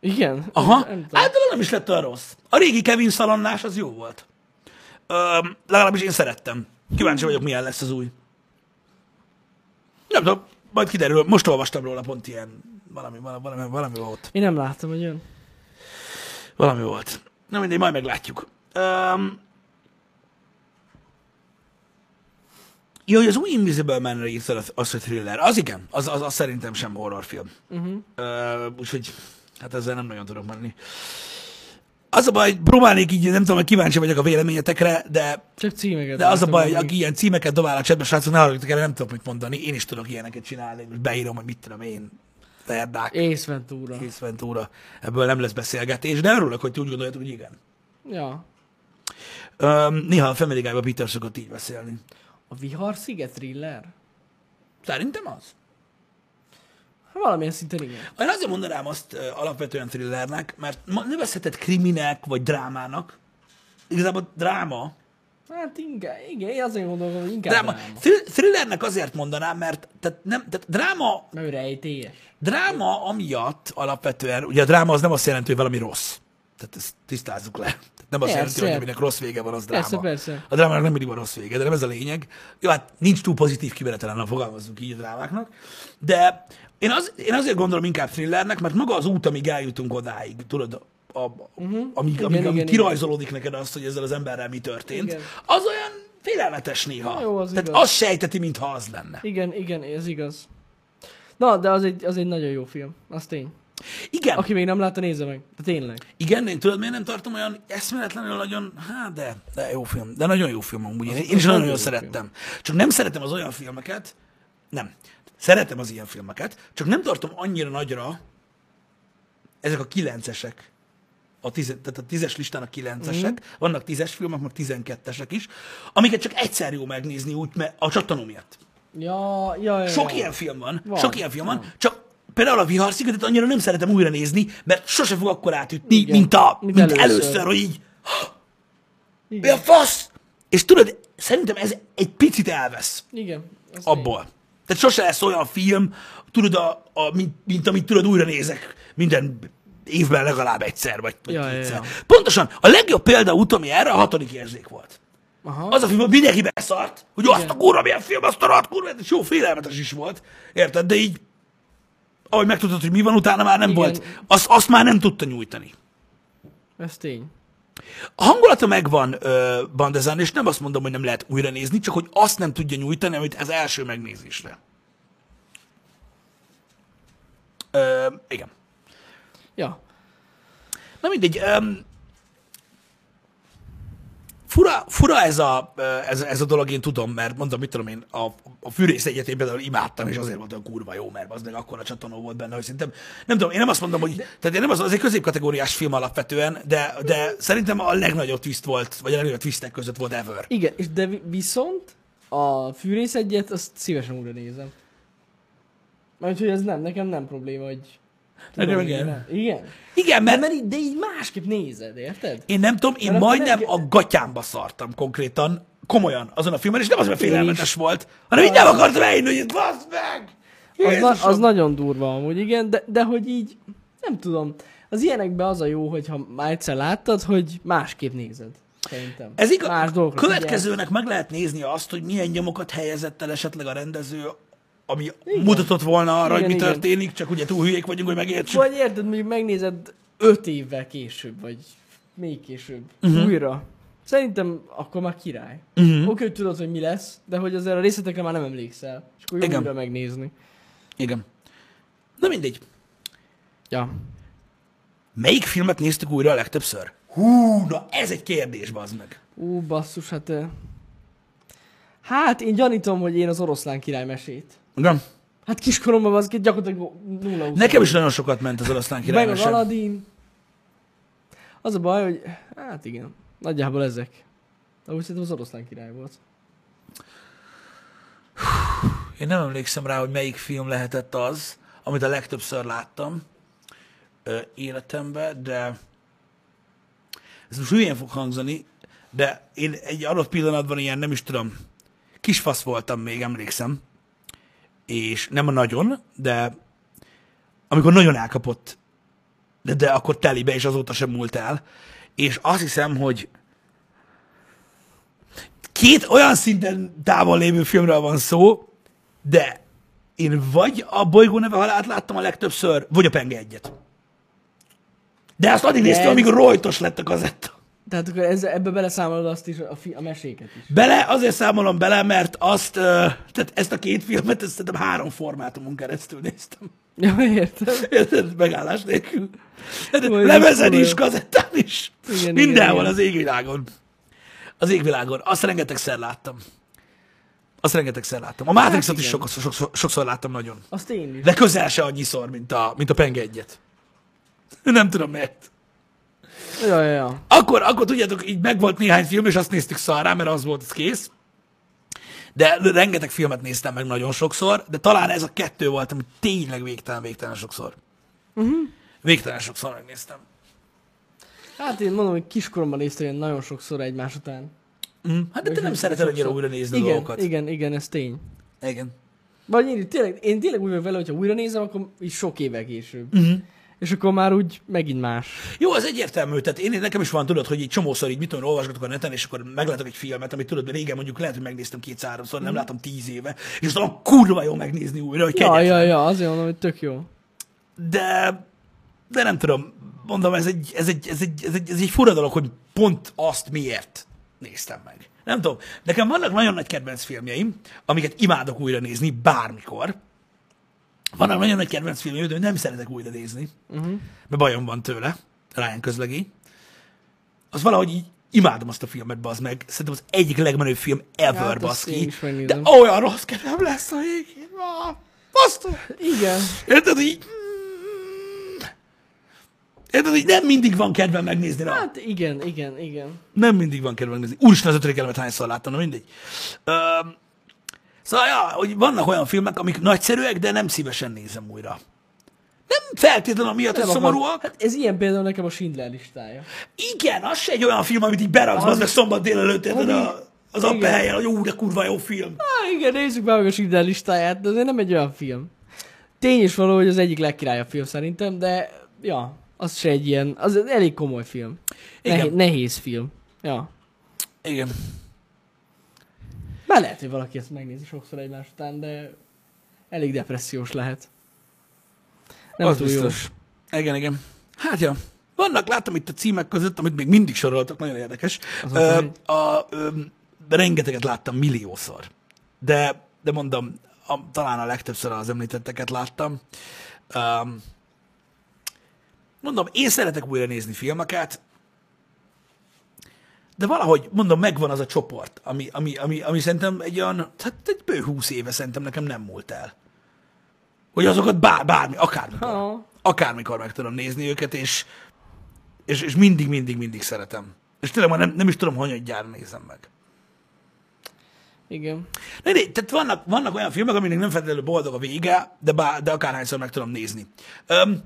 [SPEAKER 2] Igen?
[SPEAKER 1] Aha, Hát
[SPEAKER 2] Nem tudom.
[SPEAKER 1] általában nem is lett olyan rossz. A régi Kevin Szalannás az jó volt. Öm, legalábbis én szerettem. Kíváncsi vagyok, milyen lesz az új. Nem tudom, majd kiderül. Most olvastam róla pont ilyen valami, valami, valami, valami volt.
[SPEAKER 2] Én nem láttam, hogy jön.
[SPEAKER 1] Valami volt. Na mindegy, majd meglátjuk. Um, jó, hogy az új Invisible Man-re írtad az- az, hogy thriller. Az igen, az, az, az szerintem sem horrorfilm. Uh-huh. Uh, úgyhogy hát ezzel nem nagyon tudok menni. Az a baj, hogy próbálnék így, nem tudom, hogy kíváncsi vagyok a véleményetekre, de,
[SPEAKER 2] Csak címeket.
[SPEAKER 1] de az a
[SPEAKER 2] láttam,
[SPEAKER 1] baj, hogy
[SPEAKER 2] amíg-
[SPEAKER 1] aki ilyen címeket dobál a csetbe, srácok, ne haragudjatok el, nem tudok mit mondani. Én is tudok ilyeneket csinálni, most beírom, hogy mit tudom én, verdák.
[SPEAKER 2] Ace Ventura.
[SPEAKER 1] Ace Ventura. Ebből nem lesz beszélgetés, de örülök, hogy ti úgy gondoljátok, hogy igen.
[SPEAKER 2] Ja.
[SPEAKER 1] Öm, néha a Family Guy-ba Peter szokott így beszélni.
[SPEAKER 2] A Viharsziget thriller?
[SPEAKER 1] Szerintem az.
[SPEAKER 2] Hát Valamilyen szinten igen.
[SPEAKER 1] Én azért mondanám azt ö, alapvetően thrillernek, mert ma nevezheted kriminek vagy drámának. Igazából dráma.
[SPEAKER 2] Hát inkább, igen, én azért gondolom, hogy inkább
[SPEAKER 1] dráma.
[SPEAKER 2] dráma.
[SPEAKER 1] dráma.
[SPEAKER 2] dráma.
[SPEAKER 1] Thrill- Thrillernek azért mondanám, mert tehát nem, tehát dráma,
[SPEAKER 2] Mert ő rejtélyes.
[SPEAKER 1] dráma amiatt alapvetően, ugye a dráma az nem azt jelenti, hogy valami rossz. Tehát ezt tisztázzuk le. Tehát nem azt
[SPEAKER 2] Persze.
[SPEAKER 1] jelenti, hogy aminek rossz vége van, az dráma.
[SPEAKER 2] Persze, persze.
[SPEAKER 1] A drámának nem mindig van rossz vége, de nem ez a lényeg. Jó, hát nincs túl pozitív kimenetelen, ha fogalmazzunk így a drámáknak. De én, az, én azért gondolom inkább thrillernek, mert maga az út, amíg eljutunk odáig, tudod, a, a, uh-huh. amíg, igen, amíg,
[SPEAKER 2] Mhm. igen,
[SPEAKER 1] amíg
[SPEAKER 2] igen.
[SPEAKER 1] kirajzolódik neked azt, hogy ezzel az emberrel mi történt, igen.
[SPEAKER 2] Igen.
[SPEAKER 1] az olyan félelmetes néha.
[SPEAKER 2] Na jó, az
[SPEAKER 1] Tehát
[SPEAKER 2] igaz.
[SPEAKER 1] az sejteti, mintha az lenne.
[SPEAKER 2] Igen, igen, ez igaz. Na, de az egy, az egy nagyon jó film, az tény.
[SPEAKER 1] Igen,
[SPEAKER 2] Aki még nem látta, nézze meg. De tényleg.
[SPEAKER 1] Igen, én tudod, miért nem tartom olyan eszméletlenül nagyon, hát de, de jó film, de nagyon jó film amúgy. Én, én is
[SPEAKER 2] nagyon
[SPEAKER 1] nagyon
[SPEAKER 2] jó
[SPEAKER 1] szerettem. Csak nem szeretem az olyan filmeket, nem, szeretem az ilyen filmeket, csak nem tartom annyira nagyra ezek a kilencesek, a tize, tehát a tízes listán a kilencesek,
[SPEAKER 2] Mhm.
[SPEAKER 1] mm. vannak tízes filmek, meg tizenkettesek is, amiket csak egyszer jó megnézni úgy, mert a csattanó miatt.
[SPEAKER 2] Ja, ja, ja.
[SPEAKER 1] Sok
[SPEAKER 2] ja.
[SPEAKER 1] ilyen film van, van
[SPEAKER 2] Van,
[SPEAKER 1] sok ilyen film van, csak például a viharszigetet annyira nem szeretem újra nézni, mert sose fog akkor átütni, Igen. mint, a, mint,
[SPEAKER 2] mint
[SPEAKER 1] először.
[SPEAKER 2] először,
[SPEAKER 1] hogy így, mi a
[SPEAKER 2] Igen.
[SPEAKER 1] fasz? És tudod, szerintem ez egy picit elvesz
[SPEAKER 2] igen az tény.
[SPEAKER 1] abból. Tehát sose lesz olyan film, tudod, a, a, mint, mint amit tudod, újra nézek minden évben legalább egyszer, vagy, vagy
[SPEAKER 2] Ja, ja,
[SPEAKER 1] kétszer.
[SPEAKER 2] ja.
[SPEAKER 1] Pontosan, a legjobb példa utomi erre a hatodik érzék volt.
[SPEAKER 2] Aha.
[SPEAKER 1] Az a film, hogy mindenki beszart, hogy azt a kurva, milyen film, azt a rohadt kurva, és jó félelmetes is volt, érted? De így, ahogy megtudtad, hogy mi van, utána már nem
[SPEAKER 2] Igen.
[SPEAKER 1] volt. Azt, azt már nem tudta nyújtani.
[SPEAKER 2] Ez tény.
[SPEAKER 1] A hangulata megvan ö, Bandezán, és nem azt mondom, hogy nem lehet újra nézni, csak hogy azt nem tudja nyújtani, amit az első megnézésre. Ö, igen.
[SPEAKER 2] Ja.
[SPEAKER 1] Na mindegy. Um, fura, fura ez, a, ö, ez, ez a dolog, én tudom, mert mondom, mit tudom én, a, a fűrész egyetén például imádtam, és azért volt olyan kurva jó, mert az meg akkor a csatornó volt benne, hogy szerintem, nem tudom, én nem azt mondom, hogy, tehát én nem az, az egy középkategóriás film alapvetően, de, de szerintem a legnagyobb twist volt, vagy a legnagyobb twistek között volt ever.
[SPEAKER 2] Igen, és de vi- viszont a fűrész egyet, azt szívesen újra nézem. Mert hogy ez nem, nekem nem probléma, hogy...
[SPEAKER 1] Nekem
[SPEAKER 2] Tudom,
[SPEAKER 1] igen.
[SPEAKER 2] nem. Igen.
[SPEAKER 1] Igen,
[SPEAKER 2] De,
[SPEAKER 1] mert
[SPEAKER 2] mert így, de így másképp nézed, érted?
[SPEAKER 1] Én nem tudom, én
[SPEAKER 2] Mert akkor
[SPEAKER 1] majdnem
[SPEAKER 2] meg-
[SPEAKER 1] a gatyámba szartam konkrétan, komolyan azon a filmen, és nem az, mert
[SPEAKER 2] Én
[SPEAKER 1] félelmetes
[SPEAKER 2] is.
[SPEAKER 1] volt, hanem így nem akartam elhinni, hogy itt baszd meg!
[SPEAKER 2] Az, na,
[SPEAKER 1] Jézusom!
[SPEAKER 2] az nagyon durva amúgy, igen, de, de hogy így, nem tudom. Az ilyenekben az a jó, hogyha már egyszer láttad, hogy másképp nézed. Szerintem.
[SPEAKER 1] Ez igaz.
[SPEAKER 2] Más dolgokra figyelsz.
[SPEAKER 1] következőnek meg lehet nézni azt, hogy milyen nyomokat helyezett el esetleg a rendező, ami igen. mutatott volna arra, igen, hogy
[SPEAKER 2] Igen,
[SPEAKER 1] mi
[SPEAKER 2] igen.
[SPEAKER 1] igen. történik, csak ugye túl hülyék vagyunk, hogy megértsük.
[SPEAKER 2] Vagy érted, mondjuk megnézed öt évvel később, vagy még később,
[SPEAKER 1] Mhm.
[SPEAKER 2] uh-huh. újra. Szerintem akkor már király. Uh-huh. Oké, hogy tudod, hogy mi lesz, de hogy azért a részletekre már nem emlékszel. És akkor jó
[SPEAKER 1] Igen.
[SPEAKER 2] újra megnézni.
[SPEAKER 1] Igen. Na mindegy.
[SPEAKER 2] Ja.
[SPEAKER 1] Melyik filmet néztük újra a legtöbbször? Hú, na ez egy kérdés, bazd meg.
[SPEAKER 2] Ú, basszus, hát... ö, Hát én gyanítom, hogy én az oroszlán király mesét.
[SPEAKER 1] Igen.
[SPEAKER 2] Hát kiskoromban az ki gyakorlatilag nulla után.
[SPEAKER 1] Nekem is nagyon sokat ment az oroszlán
[SPEAKER 2] Meg az
[SPEAKER 1] királyság.
[SPEAKER 2] Aladdin. Az a baj, hogy hát igen, nagyjából ezek. De úgy szerintem az oroszlán király volt.
[SPEAKER 1] Én nem emlékszem rá, hogy melyik film lehetett az, amit a legtöbbször láttam ö, életemben, de ez most hülyén fog hangzani, de én egy adott pillanatban ilyen, nem is tudom, kisfasz voltam még, emlékszem, és nem a nagyon, de amikor nagyon elkapott, de, de akkor telibe, és azóta sem múlt el, és azt hiszem, hogy két olyan szinten távol lévő filmről van szó, de én vagy a bolygó neve halált láttam a legtöbbször, vagy a penge egyet. De azt addig néztem,
[SPEAKER 2] Ez-
[SPEAKER 1] amíg rojtos lett a kazetta.
[SPEAKER 2] Tehát akkor ez, ebbe beleszámolod azt is, a, fi, a meséket is.
[SPEAKER 1] Bele, azért számolom bele, mert azt, ö, tehát ezt a két filmet, ezt szerintem három formátumon keresztül néztem.
[SPEAKER 2] Ja, értem.
[SPEAKER 1] Érted? Megállás nélkül. Hát
[SPEAKER 2] Ó, ez
[SPEAKER 1] Lemezen
[SPEAKER 2] kurva
[SPEAKER 1] is,
[SPEAKER 2] jó.
[SPEAKER 1] kazettán is.
[SPEAKER 2] Igen,
[SPEAKER 1] Mindenhol
[SPEAKER 2] igen, igen.
[SPEAKER 1] az égvilágon. Az égvilágon. Azt rengetegszer láttam. Azt rengetegszer láttam. A Matrixot is
[SPEAKER 2] Hát igen.
[SPEAKER 1] sokszor, sokszor, sokszor láttam nagyon.
[SPEAKER 2] Azt én is.
[SPEAKER 1] De közel se annyiszor, mint a, mint a penge egyet. Nem tudom miért.
[SPEAKER 2] Ja, ja, ja.
[SPEAKER 1] Akkor, akkor tudjátok, így meg volt néhány film, és azt néztük szarrá, mert az volt, az kész. De rengeteg filmet néztem meg nagyon sokszor, de talán ez a kettő volt, amit tényleg végtelen, végtelen sokszor. Uh-huh.
[SPEAKER 2] Mhm.
[SPEAKER 1] Végtelen sokszor megnéztem.
[SPEAKER 2] Hát én mondom, hogy kiskoromban néztem ilyen nagyon sokszor egymás után.
[SPEAKER 1] Mm. Hát de te nem szereted annyira újra nézni
[SPEAKER 2] igen,
[SPEAKER 1] dolgokat.
[SPEAKER 2] Igen, igen, ez tény.
[SPEAKER 1] igen.
[SPEAKER 2] Vagy én, tényleg, én tényleg úgy vagyok vele, hogyha újra nézem, akkor így sok évvel később.
[SPEAKER 1] Mhm.
[SPEAKER 2] Uh-huh. És akkor már úgy megint más.
[SPEAKER 1] Jó, az egyértelmű, tehát én, nekem is van, tudod, hogy egy csomószor így mit tudom, olvasgatok a neten, és akkor meglátok egy filmet, amit tudod, régen mondjuk lehet, hogy megnéztem kétszer-háromszor,
[SPEAKER 2] Mhm.
[SPEAKER 1] nem látom tíz éve, és aztán kurva jó megnézni újra, hogy
[SPEAKER 2] Ja,
[SPEAKER 1] kegyetlen.
[SPEAKER 2] ja, ja, azért mondom, hogy tök jó.
[SPEAKER 1] de, de nem tudom, mondom, ez egy, ez egy, ez egy, ez egy, ez egy fura dolog, hogy pont azt miért néztem meg. Nem tudom, nekem vannak nagyon nagy kedvenc filmjeim, amiket imádok újra nézni bármikor. Vannak nagyon nagy kedvenc filmjeim, de nem szeretek újra nézni,
[SPEAKER 2] Mhm.
[SPEAKER 1] uh-huh. mert bajom van tőle, Ryan közlegi. Az valahogy így imádom azt a filmet, bazd meg. Szerintem az egyik legmenőbb film ever,
[SPEAKER 2] Hát
[SPEAKER 1] hát
[SPEAKER 2] azt én
[SPEAKER 1] baszki.
[SPEAKER 2] is megnézem.
[SPEAKER 1] De olyan rossz kedvem lesz a végén. Ah, Basztok!
[SPEAKER 2] Igen.
[SPEAKER 1] Érted, így... Érted, hogy nem mindig van kedvem megnézni rá.
[SPEAKER 2] Hát igen, igen, igen.
[SPEAKER 1] Nem mindig van kedvem megnézni. Úristen, az ötödik elemet hányszor láttam, na mindegy. Öm, szóval, ja, hogy vannak olyan filmek, amik nagyszerűek, de nem szívesen nézem újra. Nem feltétlenül amiatt, hogy
[SPEAKER 2] Nem akar-
[SPEAKER 1] szomorúak.
[SPEAKER 2] Hát ez ilyen például nekem a Schindler listája.
[SPEAKER 1] Igen, az se egy olyan film, amit így beraksz, az meg szombat délelőtt, érted,
[SPEAKER 2] Ami-
[SPEAKER 1] a, az appehelyen, hogy ú, de kurva jó film.
[SPEAKER 2] Á, igen, nézzük már meg a Schindler listáját, de azért nem egy olyan film. Tény is való, hogy az egyik legkirályabb film szerintem, de ja, az se egy ilyen, az egy elég komoly film.
[SPEAKER 1] Igen.
[SPEAKER 2] Nehé- nehéz film. Ja.
[SPEAKER 1] Igen.
[SPEAKER 2] Már lehet, hogy valaki ezt megnézi sokszor egymás után, de elég depressziós lehet. Nem
[SPEAKER 1] az
[SPEAKER 2] túl
[SPEAKER 1] biztos. Igen, igen. Hát ja. Vannak, látom itt a címek között, amit még mindig soroltak, nagyon érdekes.
[SPEAKER 2] Azok
[SPEAKER 1] Ö,
[SPEAKER 2] nagy.
[SPEAKER 1] a, ö, de rengeteget láttam, milliószor. De, de mondom, a, talán a legtöbbször az említetteket láttam. Um, mondom, én szeretek újra nézni filmeket, de valahogy, mondom, megvan az a csoport, ami, ami, ami, ami szerintem egy olyan, hát egy bő húsz éve szerintem nekem nem múlt el. Hogy azokat bár, bármi, akármikor,
[SPEAKER 2] Ha.
[SPEAKER 1] akármikor meg tudom nézni őket, és, és, és mindig, mindig, mindig szeretem. És tényleg már nem, nem is tudom, hanyadjára nézem meg.
[SPEAKER 2] jó. Igen.
[SPEAKER 1] Na, de, tehát vannak, vannak olyan filmek, aminek nem feltétlenül boldog a vége, de, bá, de akárhányszor meg tudom nézni. Öm,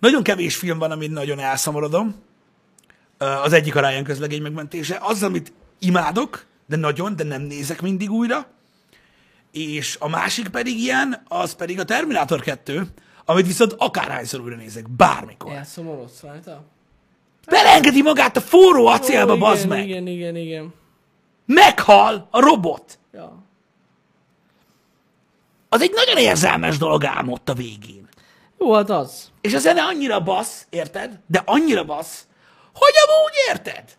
[SPEAKER 1] nagyon kevés film van, amin nagyon elszomorodom. Ö, az egyik a Ryan közlegény megmentése. Az, amit imádok, de nagyon, de nem nézek mindig újra. És a másik pedig ilyen, az pedig a Terminátor 2, amit viszont akárhányszor újra nézek, bármikor. Yeah.
[SPEAKER 2] Elszomorodsz rajta?
[SPEAKER 1] Belengedi magát a forró acélba,
[SPEAKER 2] Ó,
[SPEAKER 1] oh,
[SPEAKER 2] igen,
[SPEAKER 1] bazd meg!
[SPEAKER 2] Igen, igen, igen.
[SPEAKER 1] Meghal a robot!
[SPEAKER 2] Ja.
[SPEAKER 1] Az egy nagyon érzelmes dolog ám ott a végén.
[SPEAKER 2] Jó, hát az.
[SPEAKER 1] És a zene annyira bassz, érted? De annyira bassz, hogy amúgy érted?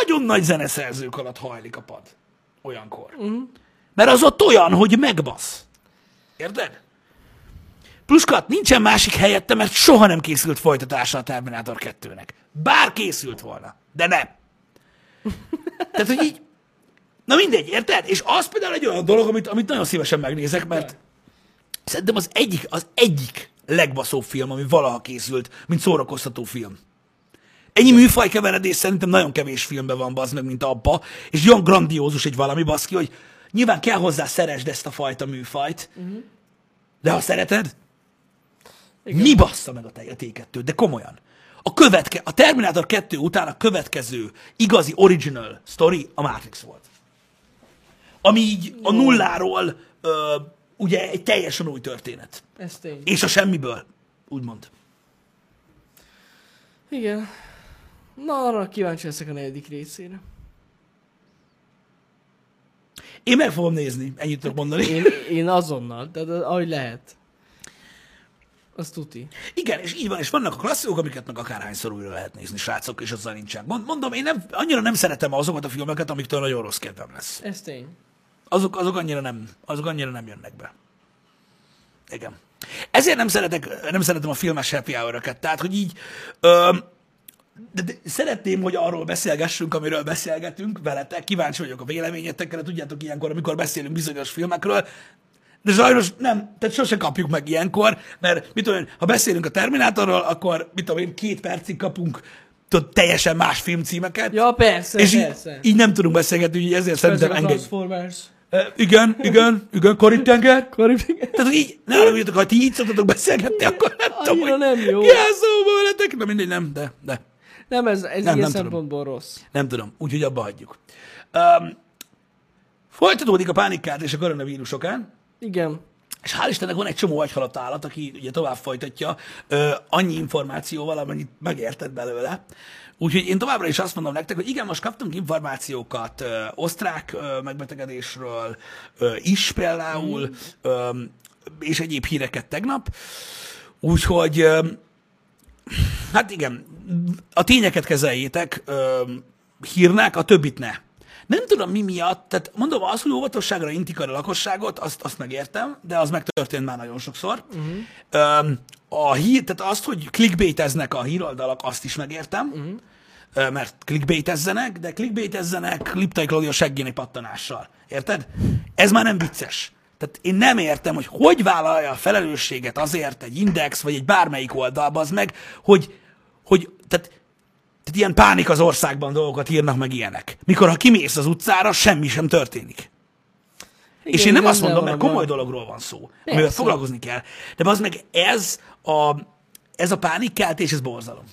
[SPEAKER 1] Nagyon nagy zeneszerzők alatt hajlik a pad. Olyankor. Uh-huh. Mert az ott olyan, hogy megbasz. Érted? Pluskat, nincsen másik helyette, mert soha nem készült folytatása a Terminátor 2-nek. Bár készült volna, de nem. Tehát, hogy így... Na mindegy, érted? És az például egy olyan dolog, amit, amit nagyon szívesen megnézek, mert Szerintem az egyik, az egyik legbaszóbb film, ami valaha készült, mint szórakoztató film. Ennyi műfaj keveredés szerintem nagyon kevés filmben van, bazd meg, mint abba, és olyan grandiózus egy valami, baszki, hogy nyilván kell hozzá szeresd ezt a fajta műfajt, uh-huh. de ha szereted, Igen. mi bassza meg a te- a T2-t, de komolyan. A, követke, a Terminátor 2 után a következő igazi original story a Matrix volt ami így a nulláról ö, ugye egy teljesen új történet.
[SPEAKER 2] Ez tény.
[SPEAKER 1] És a semmiből, úgymond.
[SPEAKER 2] Igen. Na, arra kíváncsi leszek a negyedik részére.
[SPEAKER 1] Én meg fogom nézni, ennyit tudok mondani.
[SPEAKER 2] Én, én azonnal, tehát ahogy lehet. Az tuti.
[SPEAKER 1] Igen, és így van, és vannak a klasszikok, amiket meg akárhányszor újra lehet nézni, srácok, és azzal nincsen. gond. Mondom, én nem, annyira nem szeretem azokat a filmeket, amiktől nagyon rossz kedvem lesz.
[SPEAKER 2] Ez tény.
[SPEAKER 1] Azok, azok, annyira, nem, azok annyira nem jönnek be. Igen. Ezért nem, szeretek, nem szeretem a filmes happy hour Tehát, hogy így... Öm, de, de szeretném, hogy arról beszélgessünk, amiről beszélgetünk veletek. Kíváncsi vagyok a véleményetekre. Tudjátok, ilyenkor, amikor beszélünk bizonyos filmekről, de sajnos nem, tehát sose kapjuk meg ilyenkor, mert mit tudom én, ha beszélünk a Terminátorról, akkor mit tudom én, két percig kapunk tudod, teljesen más filmcímeket.
[SPEAKER 2] Ja, persze,
[SPEAKER 1] és így,
[SPEAKER 2] persze.
[SPEAKER 1] így, nem tudunk beszélgetni, így ezért szerintem
[SPEAKER 2] Ezek a
[SPEAKER 1] engedj.
[SPEAKER 2] Transformers.
[SPEAKER 1] Ö, igen, igen, igen, Korintenger.
[SPEAKER 2] Karibik.
[SPEAKER 1] Tehát, hogy így, ne haragudjatok, ha ti így szoktatok beszélgetni, akkor nem tudom,
[SPEAKER 2] annyira
[SPEAKER 1] hogy
[SPEAKER 2] nem jó.
[SPEAKER 1] ki áll szóba veletek. Na mindegy, nem, de, de.
[SPEAKER 2] Nem, ez, ez
[SPEAKER 1] Nem,
[SPEAKER 2] nem,
[SPEAKER 1] nem
[SPEAKER 2] ilyen
[SPEAKER 1] tudom.
[SPEAKER 2] nem szempontból tudom. rossz.
[SPEAKER 1] Nem tudom, úgyhogy abba hagyjuk. Um, folytatódik a pánikkát és a koronavírus okán,
[SPEAKER 2] Igen.
[SPEAKER 1] és hál' Istennek van egy csomó agyhalott állat, aki ugye tovább folytatja ö, annyi információval, amennyit megértett belőle. Úgyhogy én továbbra is azt mondom nektek, hogy igen, most kaptunk információkat ö, osztrák ö, megbetegedésről ö, is például, ö, és egyéb híreket tegnap. Úgyhogy ö, Hát igen, a tényeket kezeljétek, öm, hírnák, a többit ne. Nem tudom mi miatt, tehát mondom, az, hogy óvatosságra intik a lakosságot, azt, azt megértem, de az megtörtént már nagyon sokszor. Uh-huh. Öm, a hír, tehát azt, hogy clickbaiteznek a híroldalak, azt is megértem, uh-huh. ö, mert clickbaitezzenek, de clickbaitezzenek Liptai Klaudia seggéni pattanással. Érted? Ez már nem vicces. Tehát én nem értem, hogy hogy vállalja a felelősséget azért egy index, vagy egy bármelyik oldalba az meg, hogy, hogy tehát, tehát ilyen pánik az országban dolgokat írnak meg ilyenek. Mikor ha kimész az utcára, semmi sem történik.
[SPEAKER 2] igen
[SPEAKER 1] És én nem
[SPEAKER 2] igen,
[SPEAKER 1] azt mondom,
[SPEAKER 2] de
[SPEAKER 1] mert
[SPEAKER 2] van,
[SPEAKER 1] komoly
[SPEAKER 2] van.
[SPEAKER 1] dologról van szó, amivel
[SPEAKER 2] Persze.
[SPEAKER 1] foglalkozni kell. De az meg ez a, ez a pánikkeltés, ez borzalom.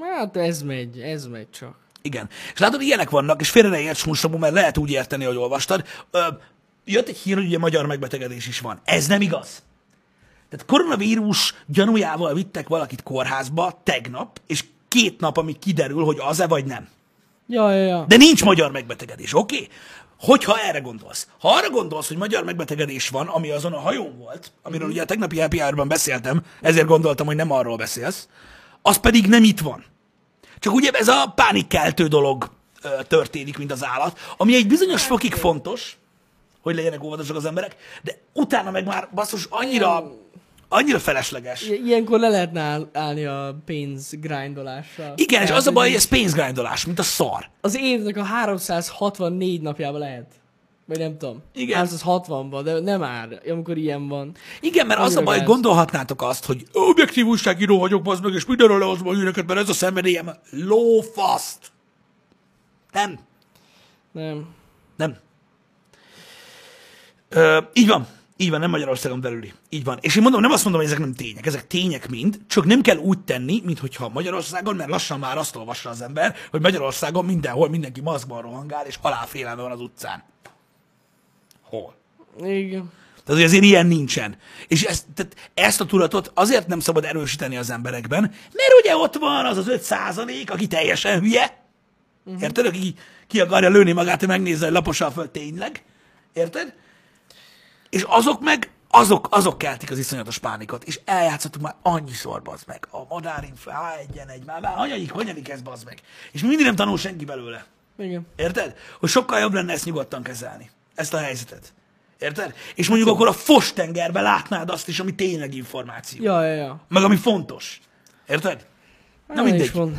[SPEAKER 2] Hát ez megy, ez megy csak.
[SPEAKER 1] Igen. És látod, ilyenek vannak, és félre ne érts Hunsabu, mert lehet úgy érteni, hogy olvastad. Ö, jött egy hír, hogy ugye magyar megbetegedés is van. Ez nem igaz. Tehát koronavírus gyanújával vittek valakit kórházba tegnap, és két nap, amíg kiderül, hogy az-e vagy nem.
[SPEAKER 2] Ja, ja, ja.
[SPEAKER 1] De nincs magyar megbetegedés, oké? Okay? Hogyha erre gondolsz. Ha arra gondolsz, hogy magyar megbetegedés van, ami azon a hajón volt, amiről ugye a tegnapi happy hour-ban beszéltem, ezért gondoltam, hogy nem arról beszélsz, az pedig nem itt van. Csak ugye ez a pánikkeltő dolog ö, történik, mint az állat, ami egy bizonyos fokig fontos, hogy legyenek óvatosak az emberek, de utána meg már basszus annyira, annyira felesleges.
[SPEAKER 2] I- Ilyenkor le lehetne áll- állni a pénz grindolással.
[SPEAKER 1] Igen, és
[SPEAKER 2] Tehát,
[SPEAKER 1] az a
[SPEAKER 2] hogy
[SPEAKER 1] baj, hogy ez pénzgrindolás, mint a szar.
[SPEAKER 2] Az évnek a 364 napjában lehet. Vagy nem tudom.
[SPEAKER 1] Igen.
[SPEAKER 2] 360-ban, de nem már, amikor ilyen van.
[SPEAKER 1] Igen, mert az a
[SPEAKER 2] Annyira
[SPEAKER 1] baj, hogy
[SPEAKER 2] gáz.
[SPEAKER 1] gondolhatnátok azt, hogy objektív újságíró vagyok, az meg, és mindenről lehozom a híreket, mert ez a szenvedélyem. Lófaszt! Nem,
[SPEAKER 2] Nem.
[SPEAKER 1] nem. Ö, így van, így van, nem Magyarországon belüli. Így van. És én mondom, nem azt mondom, hogy ezek nem tények, ezek tények mind, csak nem kell úgy tenni, mintha Magyarországon, mert lassan már azt olvassa az ember, hogy Magyarországon mindenhol mindenki maszkban rohangál, és halálfélelme van az utcán. Hol?
[SPEAKER 2] Igen.
[SPEAKER 1] Tehát, hogy azért ilyen nincsen. És ezt, tehát ezt a tudatot azért nem szabad erősíteni az emberekben, mert ugye ott van az az 5 százalék, aki teljesen hülye. Érted? Aki ki akarja lőni magát, hogy megnézze, hogy lapos a föld tényleg. Érted? És azok meg, azok, azok keltik az iszonyatos pánikot. És eljátszottuk már annyiszor, bazd meg. A madárinflu, H1N1, már, már hanyadik, hanyadik ez, bazd meg. És mindig nem tanul senki belőle.
[SPEAKER 2] Igen.
[SPEAKER 1] Érted? Hogy sokkal jobb lenne ezt nyugodtan kezelni. Ezt a helyzetet. Érted? És mondjuk akkor a fostengerbe látnád azt is, ami tényleg információ.
[SPEAKER 2] Ja, ja, ja.
[SPEAKER 1] Meg ami fontos. Érted? Na
[SPEAKER 2] Nem
[SPEAKER 1] mindegy.
[SPEAKER 2] is Van.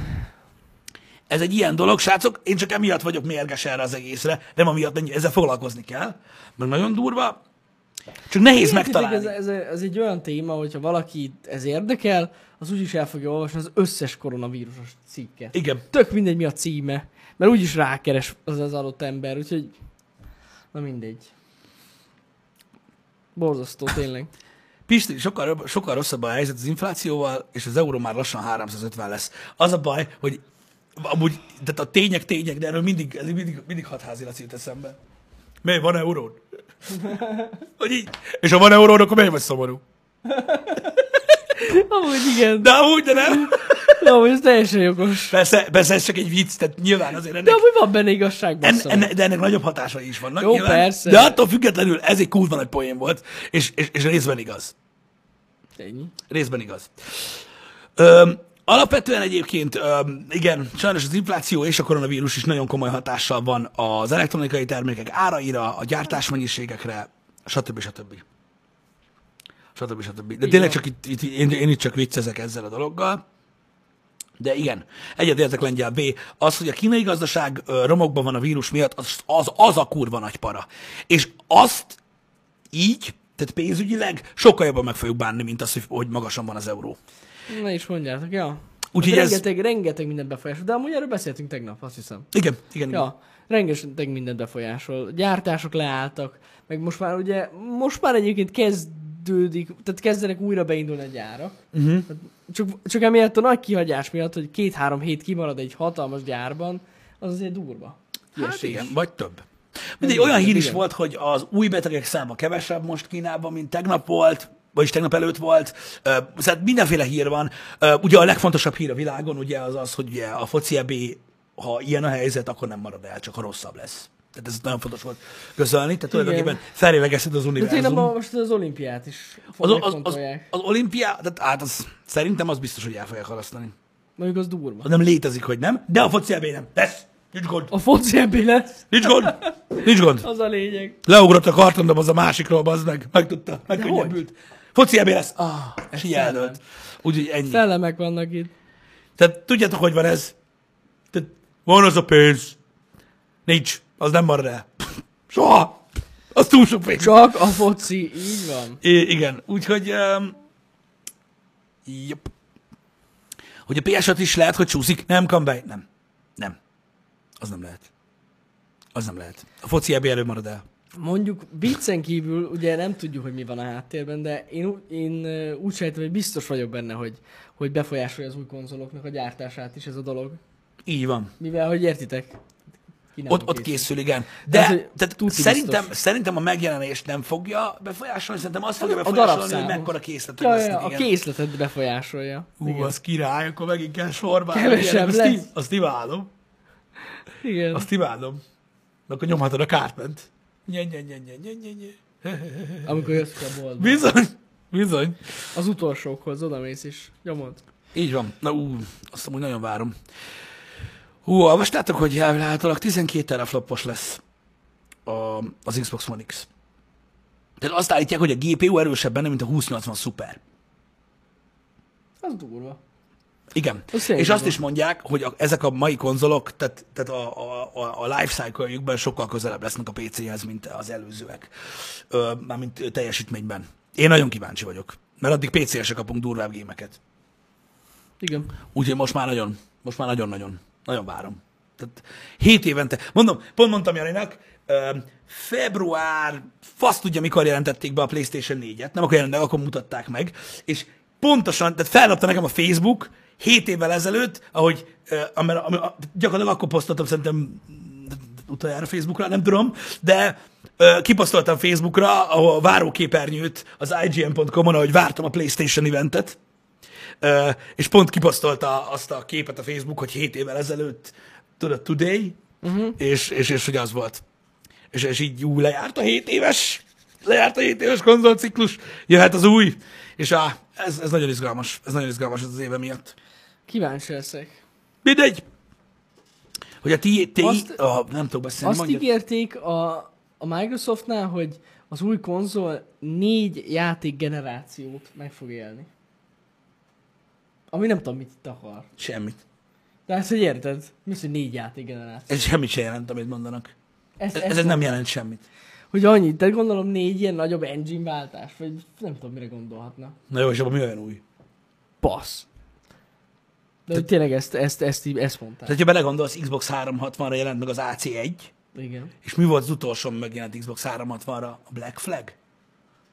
[SPEAKER 1] Ez egy ilyen dolog, srácok. Én csak emiatt vagyok mérges erre az egészre. Nem amiatt, hogy ezzel foglalkozni kell. Mert nagyon durva. Csak nehéz
[SPEAKER 2] Értitek,
[SPEAKER 1] megtalálni.
[SPEAKER 2] Ez, ez, ez egy olyan téma, hogyha valaki ez érdekel, az úgyis el fogja olvasni az összes koronavírusos cikket.
[SPEAKER 1] Igen.
[SPEAKER 2] Tök mindegy, mi a címe, mert úgyis rákeres az az adott ember, úgyhogy na mindegy. Borzasztó, tényleg.
[SPEAKER 1] Pisti, sokkal, rob- sokkal rosszabb a helyzet az inflációval, és az euró már lassan 350 lesz. Az a baj, hogy amúgy, tehát a tények tények, de erről mindig, ez mindig, mindig hatházi Laci jut eszembe. Miért van eurón? Hogy így. És ha van eurón, akkor miért vagy szomorú?
[SPEAKER 2] Amúgy igen, de,
[SPEAKER 1] De amúgy, de nem.
[SPEAKER 2] amúgy ez teljesen jogos.
[SPEAKER 1] Persze, persze ez csak egy vicc, tehát nyilván azért
[SPEAKER 2] De
[SPEAKER 1] ennek,
[SPEAKER 2] amúgy van benne igazság,
[SPEAKER 1] en,
[SPEAKER 2] bassza.
[SPEAKER 1] enne, de ennek nagyobb hatásai is vannak.
[SPEAKER 2] Jó, persze.
[SPEAKER 1] De attól függetlenül ez egy kurva nagy poén volt, és, és, és részben igaz.
[SPEAKER 2] Ennyi.
[SPEAKER 1] Részben igaz. Öm, alapvetően egyébként, öm, igen, sajnos az infláció és a koronavírus is nagyon komoly hatással van az elektronikai termékek áraira, a gyártásmennyiségekre, stb. stb. stb. stb. De tényleg csak itt, itt én, én itt csak viccezek ezzel a dologgal. De igen, egyetértek lengyel B. Az, hogy a kínai gazdaság ö, romokban van a vírus miatt, az, az, az a kurva nagy para. És azt így, tehát pénzügyileg sokkal jobban meg fogjuk bánni, mint az, hogy, hogy magasan van az euró.
[SPEAKER 2] Na is mondjátok, ja. Hát
[SPEAKER 1] Úgyhogy ez-
[SPEAKER 2] rengeteg, rengeteg minden befolyásol, de amúgy erről beszéltünk tegnap, azt hiszem.
[SPEAKER 1] Igen, igen, igen.
[SPEAKER 2] Ja, rengeteg mindent befolyásol. Gyártások leálltak, meg most már ugye, most már egyébként kezdődik, tehát kezdenek újra beindulni a gyárak. Uh-huh. Csak, csak emiatt a nagy kihagyás miatt, hogy két-három hét kimarad egy hatalmas gyárban, az azért durva.
[SPEAKER 1] Hát
[SPEAKER 2] Kiesés.
[SPEAKER 1] igen, vagy több. Mindegy,
[SPEAKER 2] Igen,
[SPEAKER 1] olyan hír is
[SPEAKER 2] igen.
[SPEAKER 1] volt, hogy az új betegek száma kevesebb most Kínában, mint tegnap volt, vagyis tegnap előtt volt. Ö, Szóval mindenféle hír van. Ö, Ugye a legfontosabb hír a világon ugye az az, hogy ugye a foci EB, ha ilyen a helyzet, akkor nem marad el, csak ha rosszabb lesz. Tehát ez nagyon fontos volt közölni, tehát tulajdonképpen felélegezted az
[SPEAKER 2] De tényleg
[SPEAKER 1] univerzum.
[SPEAKER 2] ma most az olimpiát is
[SPEAKER 1] Az,
[SPEAKER 2] az,
[SPEAKER 1] az, az, az olimpia, tehát hát az, szerintem az biztos, hogy el fogják halasztani.
[SPEAKER 2] Mondjuk az durva.
[SPEAKER 1] Az nem létezik, hogy nem, de a foci EB nem. Lesz! Nincs gond!
[SPEAKER 2] A foci ebbé lesz,
[SPEAKER 1] Nincs gond! Nincs gond!
[SPEAKER 2] az a lényeg.
[SPEAKER 1] Leugrott a kartondom az a másikról, bazd meg. Megtudta, megkönnyebbült. Foci ebé lesz. Ah, és így
[SPEAKER 2] szellem.
[SPEAKER 1] eldölt. Úgyhogy ennyi.
[SPEAKER 2] Szellemek vannak itt.
[SPEAKER 1] Tehát tudjátok, hogy van ez? Tehát van az a pénz. Nincs. Az nem marad el. Soha. Az túl sok pénz.
[SPEAKER 2] Csak a foci, így van.
[SPEAKER 1] I- igen, úgyhogy... Um, jop. Hogy a PS5 is lehet, hogy csúszik. Nem, Kambály. Nem. Nem. Az nem lehet. Az nem lehet. A foci ebé előbb marad el.
[SPEAKER 2] Mondjuk viccen kívül, ugye nem tudjuk, hogy mi van a háttérben, de én, ú- én ö, úgy sejtem, hogy biztos vagyok benne, hogy, hogy befolyásolja az új konzoloknak a gyártását is ez a dolog.
[SPEAKER 1] Így van.
[SPEAKER 2] Mivel, hogy értitek? Ki nem
[SPEAKER 1] Ott, ott készül, igen. De
[SPEAKER 2] Ez, hogy
[SPEAKER 1] tehát
[SPEAKER 2] tuti
[SPEAKER 1] szerintem,
[SPEAKER 2] biztos.
[SPEAKER 1] szerintem a megjelenést nem fogja befolyásolni, szerintem azt fogja
[SPEAKER 2] A
[SPEAKER 1] befolyásolni, hogy
[SPEAKER 2] darabszámot.
[SPEAKER 1] mekkora készletet
[SPEAKER 2] Ja,
[SPEAKER 1] vesznek.
[SPEAKER 2] ja, a
[SPEAKER 1] igen.
[SPEAKER 2] készletet befolyásolja.
[SPEAKER 1] Hú, az király, akkor megint kell sorba. állni.
[SPEAKER 2] Kevesebb
[SPEAKER 1] Igen, azt
[SPEAKER 2] lesz.
[SPEAKER 1] í- Azt imádom.
[SPEAKER 2] Igen.
[SPEAKER 1] Azt imádom. De akkor nyomhatod a kárpent. Nye, nye, nye, nye, nye, nye, nye.
[SPEAKER 2] Amikor jössz ki a boltba.
[SPEAKER 1] Bizony. Bizony.
[SPEAKER 2] Az utolsókhoz odamész is. Nyomod.
[SPEAKER 1] Így van. Na ú, azt amúgy nagyon várom. Hú, olvastátok, hogy elvilágítólag 12 teraflopos lesz a, az Xbox One X. Tehát azt állítják, hogy a GPU erősebb benne, mint a 2080 Super.
[SPEAKER 2] Az durva.
[SPEAKER 1] Igen.
[SPEAKER 2] Az
[SPEAKER 1] és
[SPEAKER 2] szép
[SPEAKER 1] azt
[SPEAKER 2] van.
[SPEAKER 1] is mondják, hogy a, ezek a mai konzolok, tehát, tehát a, a, a, a life cycle sokkal közelebb lesznek a PC-hez, mint az előzőek. Ö, mármint ö, teljesítményben. Én nagyon kíváncsi vagyok, mert addig PC-re se kapunk durvább gémeket.
[SPEAKER 2] Igen.
[SPEAKER 1] Úgyhogy most már nagyon, most már nagyon-nagyon, nagyon várom. Tehát hét évente, mondom, pont mondtam Janinak, ö, február, fasz tudja, mikor jelentették be a PlayStation 4-et, nem akkor jelentek, akkor mutatták meg, és pontosan, tehát felnapta nekem a Facebook, hét évvel ezelőtt, ahogy, ö, amer, amer, a- gyakorlatilag akkor posztoltam szerintem utoljára Facebookra, nem tudom, de ö, kiposztoltam Facebookra a váróképernyőt az IGN.com-on, ahogy vártam a PlayStation eventet, Ö, és pont kiposztolta azt a képet a Facebook, hogy 7 évvel ezelőtt, tudod, Today,
[SPEAKER 2] Mhm.
[SPEAKER 1] uh-huh. és, és, és hogy az volt. És, és így ú, lejárt a 7 éves, lejárt a 7 éves konzolciklus, jöhet az új, és á, ez, ez nagyon izgalmas, ez nagyon izgalmas ez az éve miatt.
[SPEAKER 2] Kíváncsi leszek.
[SPEAKER 1] Mindegy, hogy a ti, ti
[SPEAKER 2] Azt-
[SPEAKER 1] azt, a, nem tudok beszélni,
[SPEAKER 2] Azt
[SPEAKER 1] mondjad.
[SPEAKER 2] ígérték a, a Microsoftnál, hogy az új konzol négy játék generációt meg fog élni. Ami nem tudom, mit itt akar.
[SPEAKER 1] Semmit.
[SPEAKER 2] Tehát, hogy érted? Mi az, hogy négy játék generáció?
[SPEAKER 1] Ez semmit sem jelent, amit mondanak.
[SPEAKER 2] Ezt,
[SPEAKER 1] Ez, ez nem jelent semmit.
[SPEAKER 2] Hogy annyit, de gondolom négy ilyen nagyobb engine váltás, vagy nem tudom, mire gondolhatna.
[SPEAKER 1] Na jó, és abban mi olyan új?
[SPEAKER 2] Basz. De hogy tényleg ezt, ezt, ezt, így- ezt mondták.
[SPEAKER 1] Tehát, ha belegondolsz, Xbox 360-ra jelent meg az AC1,
[SPEAKER 2] Igen,
[SPEAKER 1] És mi volt az utolsó ami megjelent Xbox 360-ra? A Black Flag?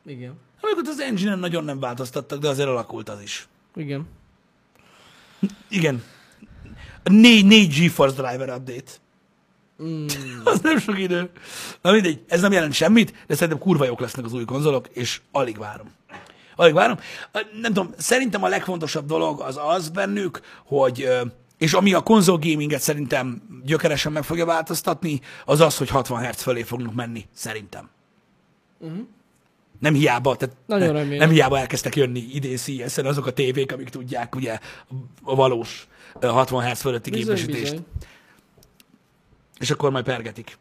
[SPEAKER 2] igen,
[SPEAKER 1] Amikor az engine nagyon nem változtattak, de azért alakult az is.
[SPEAKER 2] igen.
[SPEAKER 1] Igen. A 4, 4 GeForce Driver update.
[SPEAKER 2] Mm,
[SPEAKER 1] Az nem sok idő. Na mindegy, ez nem jelent semmit, de szerintem kurva jók lesznek az új konzolok, és alig várom. Alig várom. Ö, Nem tudom, szerintem a legfontosabb dolog az az bennük, hogy ö, és ami a konzol gaminget szerintem gyökeresen meg fogja változtatni, az az, hogy 60 Hz fölé fognak menni, szerintem. Uh-huh. Nem hiába, tehát
[SPEAKER 2] Mhm. Nagyon
[SPEAKER 1] ne-
[SPEAKER 2] remélem.
[SPEAKER 1] nem hiába elkezdtek jönni idén CES-en azok a tévék, amik tudják ugye a valós ö, 60 Hz fölötti
[SPEAKER 2] bizony,
[SPEAKER 1] gépesítést
[SPEAKER 2] bizony.
[SPEAKER 1] és akkor majd pergetik.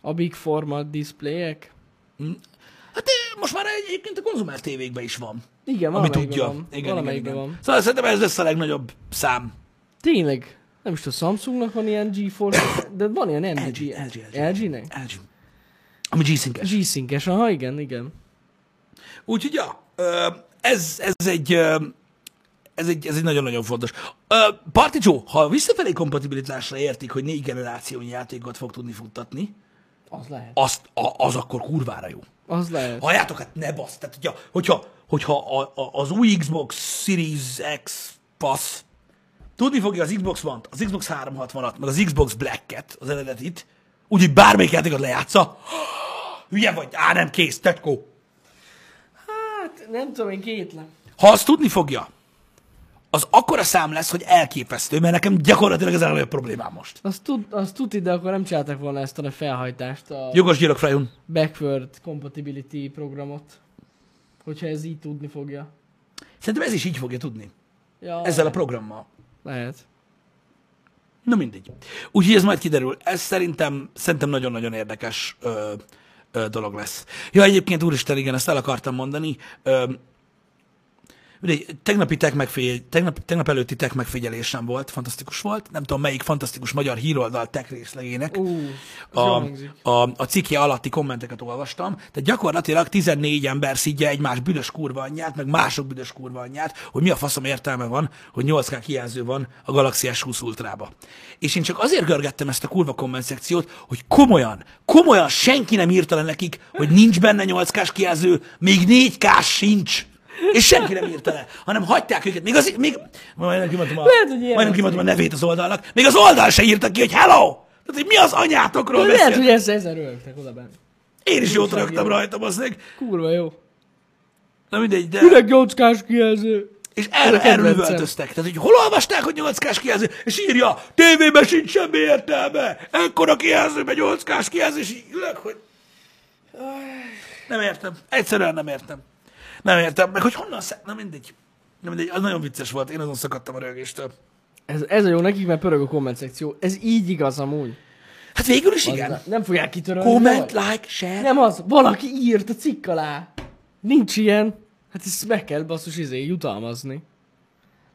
[SPEAKER 2] A big format displayek.
[SPEAKER 1] Hát eh, most már egyébként a konzumer tévékben is van,
[SPEAKER 2] Igen,
[SPEAKER 1] ami
[SPEAKER 2] valamelyikben
[SPEAKER 1] tudja.
[SPEAKER 2] van. valamelyikben van.
[SPEAKER 1] Szóval szerintem ez lesz a legnagyobb szám.
[SPEAKER 2] Tényleg, nem is tudom, Samsungnak van ilyen GeForce, de van ilyen NVG.
[SPEAKER 1] LG, LG.
[SPEAKER 2] LG-nek?
[SPEAKER 1] LG. Ami g sync
[SPEAKER 2] G-Sync-es, aha, igen, igen.
[SPEAKER 1] Úgyhogy ja, ö, ez, ez egy ö, ez egy, ez egy nagyon-nagyon fontos. Ö, Parti Joe, ha a visszafelé kompatibilitásra értik, hogy négy generációnyi játékot fog tudni futtatni,
[SPEAKER 2] Az lehet.
[SPEAKER 1] azt, a, az akkor kurvára jó.
[SPEAKER 2] Az lehet.
[SPEAKER 1] Halljátok, hát ne basz. Tehát, hogyha, hogyha, hogyha a, a, az új Xbox Series X passz, tudni fogja az Xbox One-t, az Xbox 360-at, meg az Xbox Black-et, az eredetit, úgyhogy bármelyik játékot lejátsza, hülye vagy, á nem kész, tetkó.
[SPEAKER 2] Hát, nem tudom, én kétlem.
[SPEAKER 1] Ha azt tudni fogja, az akkora szám lesz, hogy elképesztő, mert nekem gyakorlatilag ez a legnagyobb problémám most.
[SPEAKER 2] Azt tud, azt tud, de akkor nem csinálták volna ezt a felhajtást, a
[SPEAKER 1] Jogos gyilok, Frejun.
[SPEAKER 2] backward compatibility programot. Hogyha ez így tudni fogja.
[SPEAKER 1] Szerintem ez is így fogja tudni.
[SPEAKER 2] Ja,
[SPEAKER 1] Ezzel a programmal.
[SPEAKER 2] Lehet.
[SPEAKER 1] Na mindegy. Úgyhogy ez majd kiderül. Ez szerintem, szerintem nagyon-nagyon érdekes ö, ö, dolog lesz. Ja, egyébként úristen, igen, ezt el akartam mondani. Ö, mindegy, tegnapi tech megfigyel, tegnap, tegnap előtti tech megfigyelésem volt, fantasztikus volt. Nem tudom, melyik fantasztikus magyar híroldal tech részlegének
[SPEAKER 2] Ú, az
[SPEAKER 1] a,
[SPEAKER 2] jól hangzik.
[SPEAKER 1] a, a cikke alatti kommenteket olvastam, tehát gyakorlatilag 14 ember szidja egymás büdös kurva anyját, meg mások büdös kurva anyját, hogy mi a faszom értelme van, hogy 8K kijelző van a Galaxy S20 Ultrába. És én csak azért görgettem ezt a kurva komment szekciót, hogy komolyan, komolyan senki nem írta le nekik, hogy nincs benne 8K-s kijelző, még 4K sincs. És senki nem írta le, hanem hagyták őket. Még az, még, majd nem kimondtam a,
[SPEAKER 2] Lehet, hogy ilyen
[SPEAKER 1] majdnem
[SPEAKER 2] van.
[SPEAKER 1] kimondtam a nevét az oldalnak. Még az oldal se írta ki, hogy hello! Tehát, hogy mi az anyátokról
[SPEAKER 2] De lehet,
[SPEAKER 1] beszél?
[SPEAKER 2] hogy ezzel, ezzel rögtek oda benne.
[SPEAKER 1] Én is jót
[SPEAKER 2] újságíró.
[SPEAKER 1] raktam rajta, az meg.
[SPEAKER 2] Kurva jó.
[SPEAKER 1] Na mindegy, de...
[SPEAKER 2] Üreg nyolckás kijelző.
[SPEAKER 1] És erről,
[SPEAKER 2] Kedvencem.
[SPEAKER 1] erről üvöltöztek. Tehát, hogy hol olvasták, hogy 8 kijelző, és írja, tévében sincs semmi értelme, ekkora kijelzőben 8 kijelző, és így ülök, hogy... Nem értem. Egyszerűen nem értem. Nem értem, meg hogy honnan szed... Na mindegy. Na mindegy, az nagyon vicces volt, én azon szakadtam a rögéstől.
[SPEAKER 2] Ez, ez a jó nekik, mert pörög a komment szekció. Ez így igaz amúgy.
[SPEAKER 1] Hát végül is igen.
[SPEAKER 2] Igen. Nem fogják kitörölni.
[SPEAKER 1] Comment,
[SPEAKER 2] de vagy?
[SPEAKER 1] like, share.
[SPEAKER 2] Nem az, valaki írt a cikk alá. Nincs ilyen. Hát ezt meg kell basszus izé jutalmazni.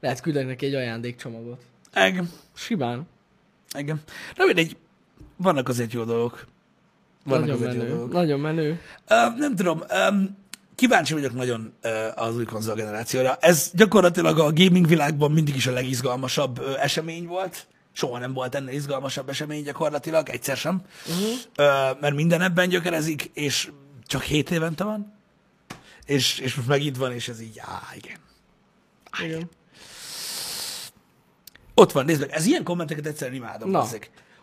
[SPEAKER 2] Lehet küldeni neki egy ajándékcsomagot.
[SPEAKER 1] Engem.
[SPEAKER 2] Simán.
[SPEAKER 1] Engem. Na mindegy, vannak azért jó dolgok. Vannak
[SPEAKER 2] Nagyon
[SPEAKER 1] azért jó
[SPEAKER 2] menő.
[SPEAKER 1] dolgok.
[SPEAKER 2] Nagyon menő.
[SPEAKER 1] Ö, nem tudom, um, kíváncsi vagyok nagyon ö, az új konzol generációra. Ez gyakorlatilag a gaming világban mindig is a legizgalmasabb ö, esemény volt. Soha nem volt ennél izgalmasabb esemény gyakorlatilag, egyszer sem.
[SPEAKER 2] Mhm.
[SPEAKER 1] Uh-huh. Ö, mert minden ebben gyökerezik, és csak hét évente van. És, és most megint van, és ez így, á, igen.
[SPEAKER 2] Igen.
[SPEAKER 1] Ott van, nézd meg, ez ilyen kommenteket egyszerűen imádom.
[SPEAKER 2] Na.
[SPEAKER 1] Na.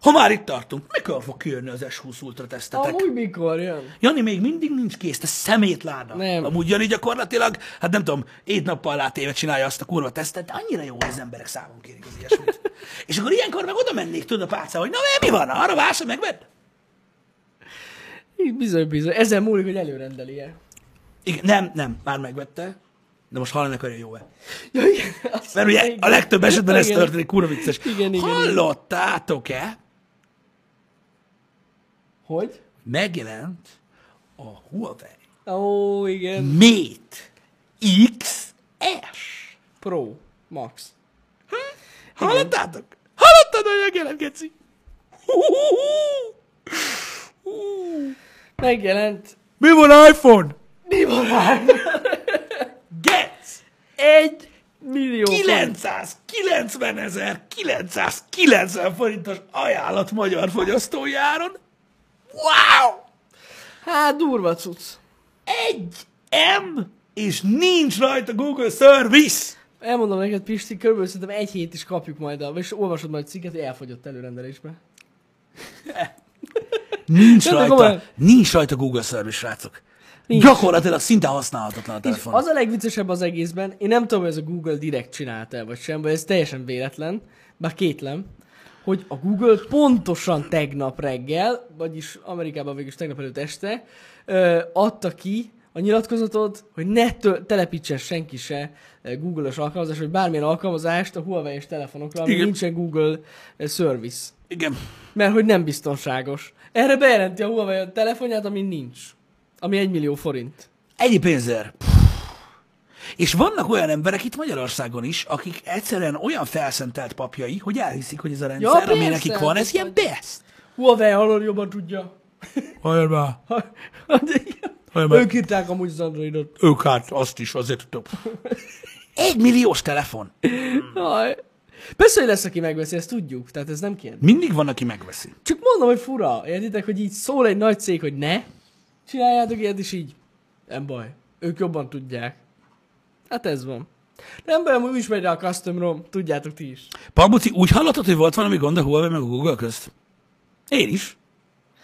[SPEAKER 1] Ha már itt tartunk, mikor fog kijönni az S20 Ultra tesztetek?
[SPEAKER 2] Amúgy mikor jön?
[SPEAKER 1] Jani még mindig nincs kész, te szemétláda.
[SPEAKER 2] Nem.
[SPEAKER 1] Amúgy Jani gyakorlatilag, hát nem tudom, egy nappal látéve csinálja azt a kurva tesztet, de annyira jó, hogy az emberek számon kérik az ilyesmit. És akkor ilyenkor meg oda mennék, tudod a pálca, hogy na mi van, arra vásárolj, megvedd.
[SPEAKER 2] Így Bizony, bizony. Ezen múlik, hogy előrendeli-e.
[SPEAKER 1] Igen, nem, nem, már megvette, de most hallani akarja, jó-e.
[SPEAKER 2] Ja, igen. Azt
[SPEAKER 1] Mert ugye
[SPEAKER 2] igen.
[SPEAKER 1] a legtöbb esetben ez
[SPEAKER 2] Igen.
[SPEAKER 1] történik, kurva vicces.
[SPEAKER 2] Igen, igen,
[SPEAKER 1] Hallottátok-e,
[SPEAKER 2] Hogy?
[SPEAKER 1] megjelent a Huawei
[SPEAKER 2] Ó, igen.
[SPEAKER 1] Mate XS?
[SPEAKER 2] Pro. Max.
[SPEAKER 1] Hallottátok? Hallottad, hogy megjelent, geci? Hú-hú-hú! Hú.
[SPEAKER 2] Megjelent.
[SPEAKER 1] Mi van iPhone?
[SPEAKER 2] Mi van már?
[SPEAKER 1] Getsz!
[SPEAKER 2] Egy millió. forint.
[SPEAKER 1] 990 ezer 990 forintos ajánlat magyar fogyasztói áron. Wow!
[SPEAKER 2] Hát durva cucc.
[SPEAKER 1] Egy M, és nincs rajta Google Service!
[SPEAKER 2] Elmondom neked, Pisti, körülbelül szerintem egy hét is kapjuk majd, a, és olvasod majd a cikket, hogy elfogyott előrendelésbe.
[SPEAKER 1] Nincs
[SPEAKER 2] Nem, de
[SPEAKER 1] rajta,
[SPEAKER 2] komolyan.
[SPEAKER 1] nincs rajta Google Service, srácok.
[SPEAKER 2] Nincs.
[SPEAKER 1] Gyakorlatilag szinte használhatatlan a
[SPEAKER 2] És
[SPEAKER 1] telefon.
[SPEAKER 2] az a legviccesebb az egészben, én nem tudom, hogy ez a Google direkt csinálta el, vagy sem, vagy ez teljesen véletlen, bár kétlem, hogy a Google pontosan tegnap reggel, vagyis Amerikában végül is tegnap előtt este, ö, adta ki a nyilatkozatot, hogy ne tö- telepítsen senki se ö, Google-os alkalmazást, vagy bármilyen alkalmazást a Huawei-es telefonokra, ami
[SPEAKER 1] Igen.
[SPEAKER 2] nincsen Google ö, service.
[SPEAKER 1] Igen.
[SPEAKER 2] Mert hogy nem biztonságos. Erre bejelenti a Huawei a telefonját, ami nincs. Ami egy millió forint.
[SPEAKER 1] Ennyi pénzért. Puh. És vannak olyan emberek itt Magyarországon is, akik egyszerűen olyan felszentelt papjai, hogy elhiszik, hogy ez a rendszer, ja, ami
[SPEAKER 2] persze,
[SPEAKER 1] nekik van, ez
[SPEAKER 2] persze.
[SPEAKER 1] ilyen best.
[SPEAKER 2] Huawei halol jobban tudja. Hát
[SPEAKER 1] Hajjál már, Olyan meg-
[SPEAKER 2] Ők írták amúgy az Androidot.
[SPEAKER 1] ők hát azt is azért tudok. Egy milliós telefon. Hmm.
[SPEAKER 2] Jaj. Persze, hogy lesz, aki megveszi, ezt tudjuk, tehát ez nem kérdés.
[SPEAKER 1] Mindig van, aki megveszi.
[SPEAKER 2] Csak mondom, hogy fura, értitek, hogy így szól egy nagy cég, hogy ne, csináljátok ilyet, és így, nem baj, ők jobban tudják. Hát ez van. Nem baj, amúgy is megy rá a custom rom, tudjátok ti is.
[SPEAKER 1] Palbuci, úgy hallottad, hogy volt valami gond a Huawei meg a Google közt? Én is.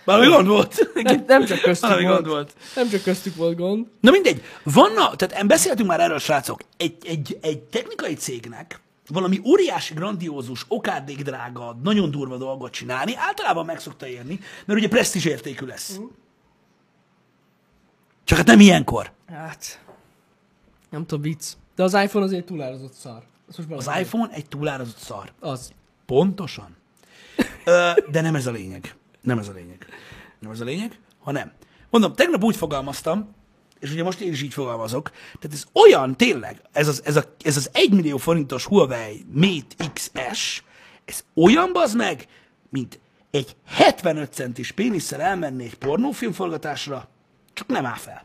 [SPEAKER 1] Valami gond volt.
[SPEAKER 2] Nem, nem csak köztük
[SPEAKER 1] Valami
[SPEAKER 2] volt.
[SPEAKER 1] gond volt.
[SPEAKER 2] Nem csak köztük volt gond.
[SPEAKER 1] Na mindegy, vannak, tehát em- beszéltünk már erről, srácok, egy, egy, egy technikai cégnek valami óriási, grandiózus, okádék drága, nagyon durva dolgot csinálni, általában meg szokta érni, mert ugye presztízs értékű lesz. Csak hát nem ilyenkor.
[SPEAKER 2] Hát, nem tudom, vicc. De az iPhone azért túlározott szar. Azt most
[SPEAKER 1] Az
[SPEAKER 2] maradjunk.
[SPEAKER 1] iPhone egy túlározott szar.
[SPEAKER 2] Az.
[SPEAKER 1] Pontosan. Ö, de nem ez a lényeg. Nem ez a lényeg. Nem ez a lényeg, hanem. Mondom, tegnap úgy fogalmaztam, és ugye most én is így fogalmazok, tehát ez olyan tényleg, ez az, ez a, ez az 1 millió forintos Huawei Mate XS, ez olyan bazd meg, mint egy 75 centis pénisszel elmenni egy pornófilm forgatásra, csak nem áll fel.